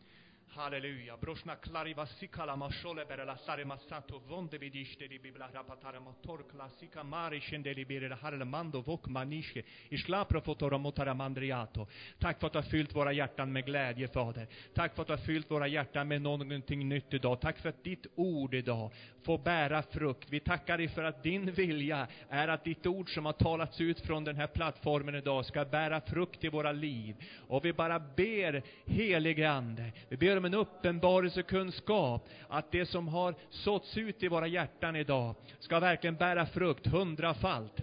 [SPEAKER 2] Halleluja. Broshna klariva sikala mashole berela sare masato vonde vidishte di bibla rapatara motor klassika mari scende di birela harle mando vok maniske isla profotora motara mandriato. Tack för att du har fyllt våra hjärtan med glädje, Fader. Tack för att du har fyllt våra hjärtan med någonting nytt idag. Tack för att ditt ord idag får bära frukt. Vi tackar dig för att din vilja är att ditt ord som har talats ut från den här plattformen idag ska bära frukt i våra liv. Och vi bara ber, helige Ande, vi ber om en uppenbarelse och kunskap att det som har såtts ut i våra hjärtan idag ska verkligen bära frukt hundrafalt.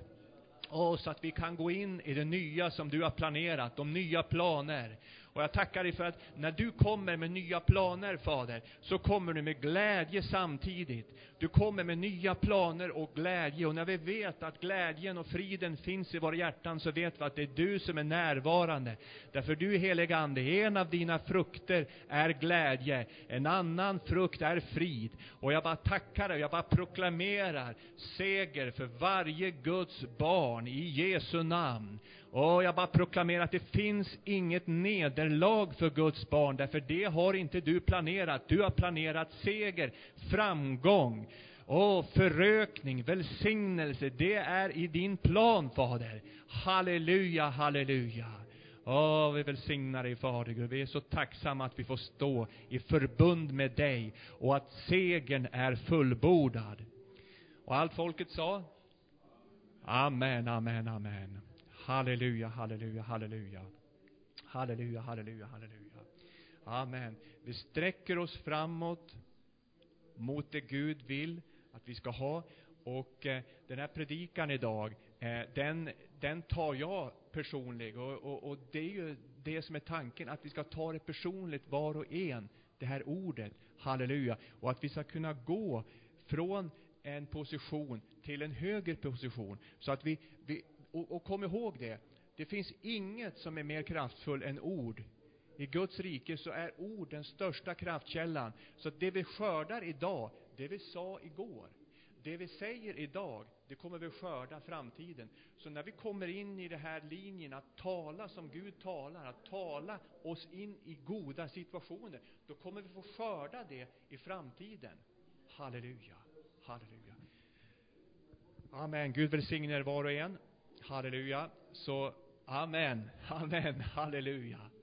[SPEAKER 2] Åh, så att vi kan gå in i det nya som du har planerat, de nya planer. Och jag tackar dig för att när du kommer med nya planer, Fader, så kommer du med glädje samtidigt. Du kommer med nya planer och glädje. Och när vi vet att glädjen och friden finns i våra hjärtan så vet vi att det är du som är närvarande. Därför du, helige Ande, en av dina frukter är glädje, en annan frukt är frid. Och jag bara tackar dig, jag bara proklamerar seger för varje Guds barn i Jesu namn. Och jag bara proklamerar att det finns inget nederlag för Guds barn, därför det har inte du planerat. Du har planerat seger, framgång, Åh, förökning, välsignelse, det är i din plan, Fader. Halleluja, halleluja. Åh, vi välsignar dig Fader Gud. Vi är så tacksamma att vi får stå i förbund med dig och att segern är fullbordad. Och allt folket sa? Amen, amen, amen. Halleluja, halleluja, halleluja. Halleluja, halleluja, halleluja. Amen. Vi sträcker oss framåt mot det Gud vill att vi ska ha. Och eh, den här predikan idag, eh, den, den tar jag personlig. Och, och, och det är ju det som är tanken, att vi ska ta det personligt var och en, det här ordet, halleluja. Och att vi ska kunna gå från en position till en högre position. Så att vi, vi och, och kom ihåg det, det finns inget som är mer kraftfull än ord. I Guds rike så är ord den största kraftkällan. Så det vi skördar idag, det vi sa igår, det vi säger idag, det kommer vi skörda framtiden. Så när vi kommer in i den här linjen att tala som Gud talar, att tala oss in i goda situationer, då kommer vi få skörda det i framtiden. Halleluja, halleluja. Amen. Gud välsigne er var och en. Halleluja. Så, amen, amen, halleluja.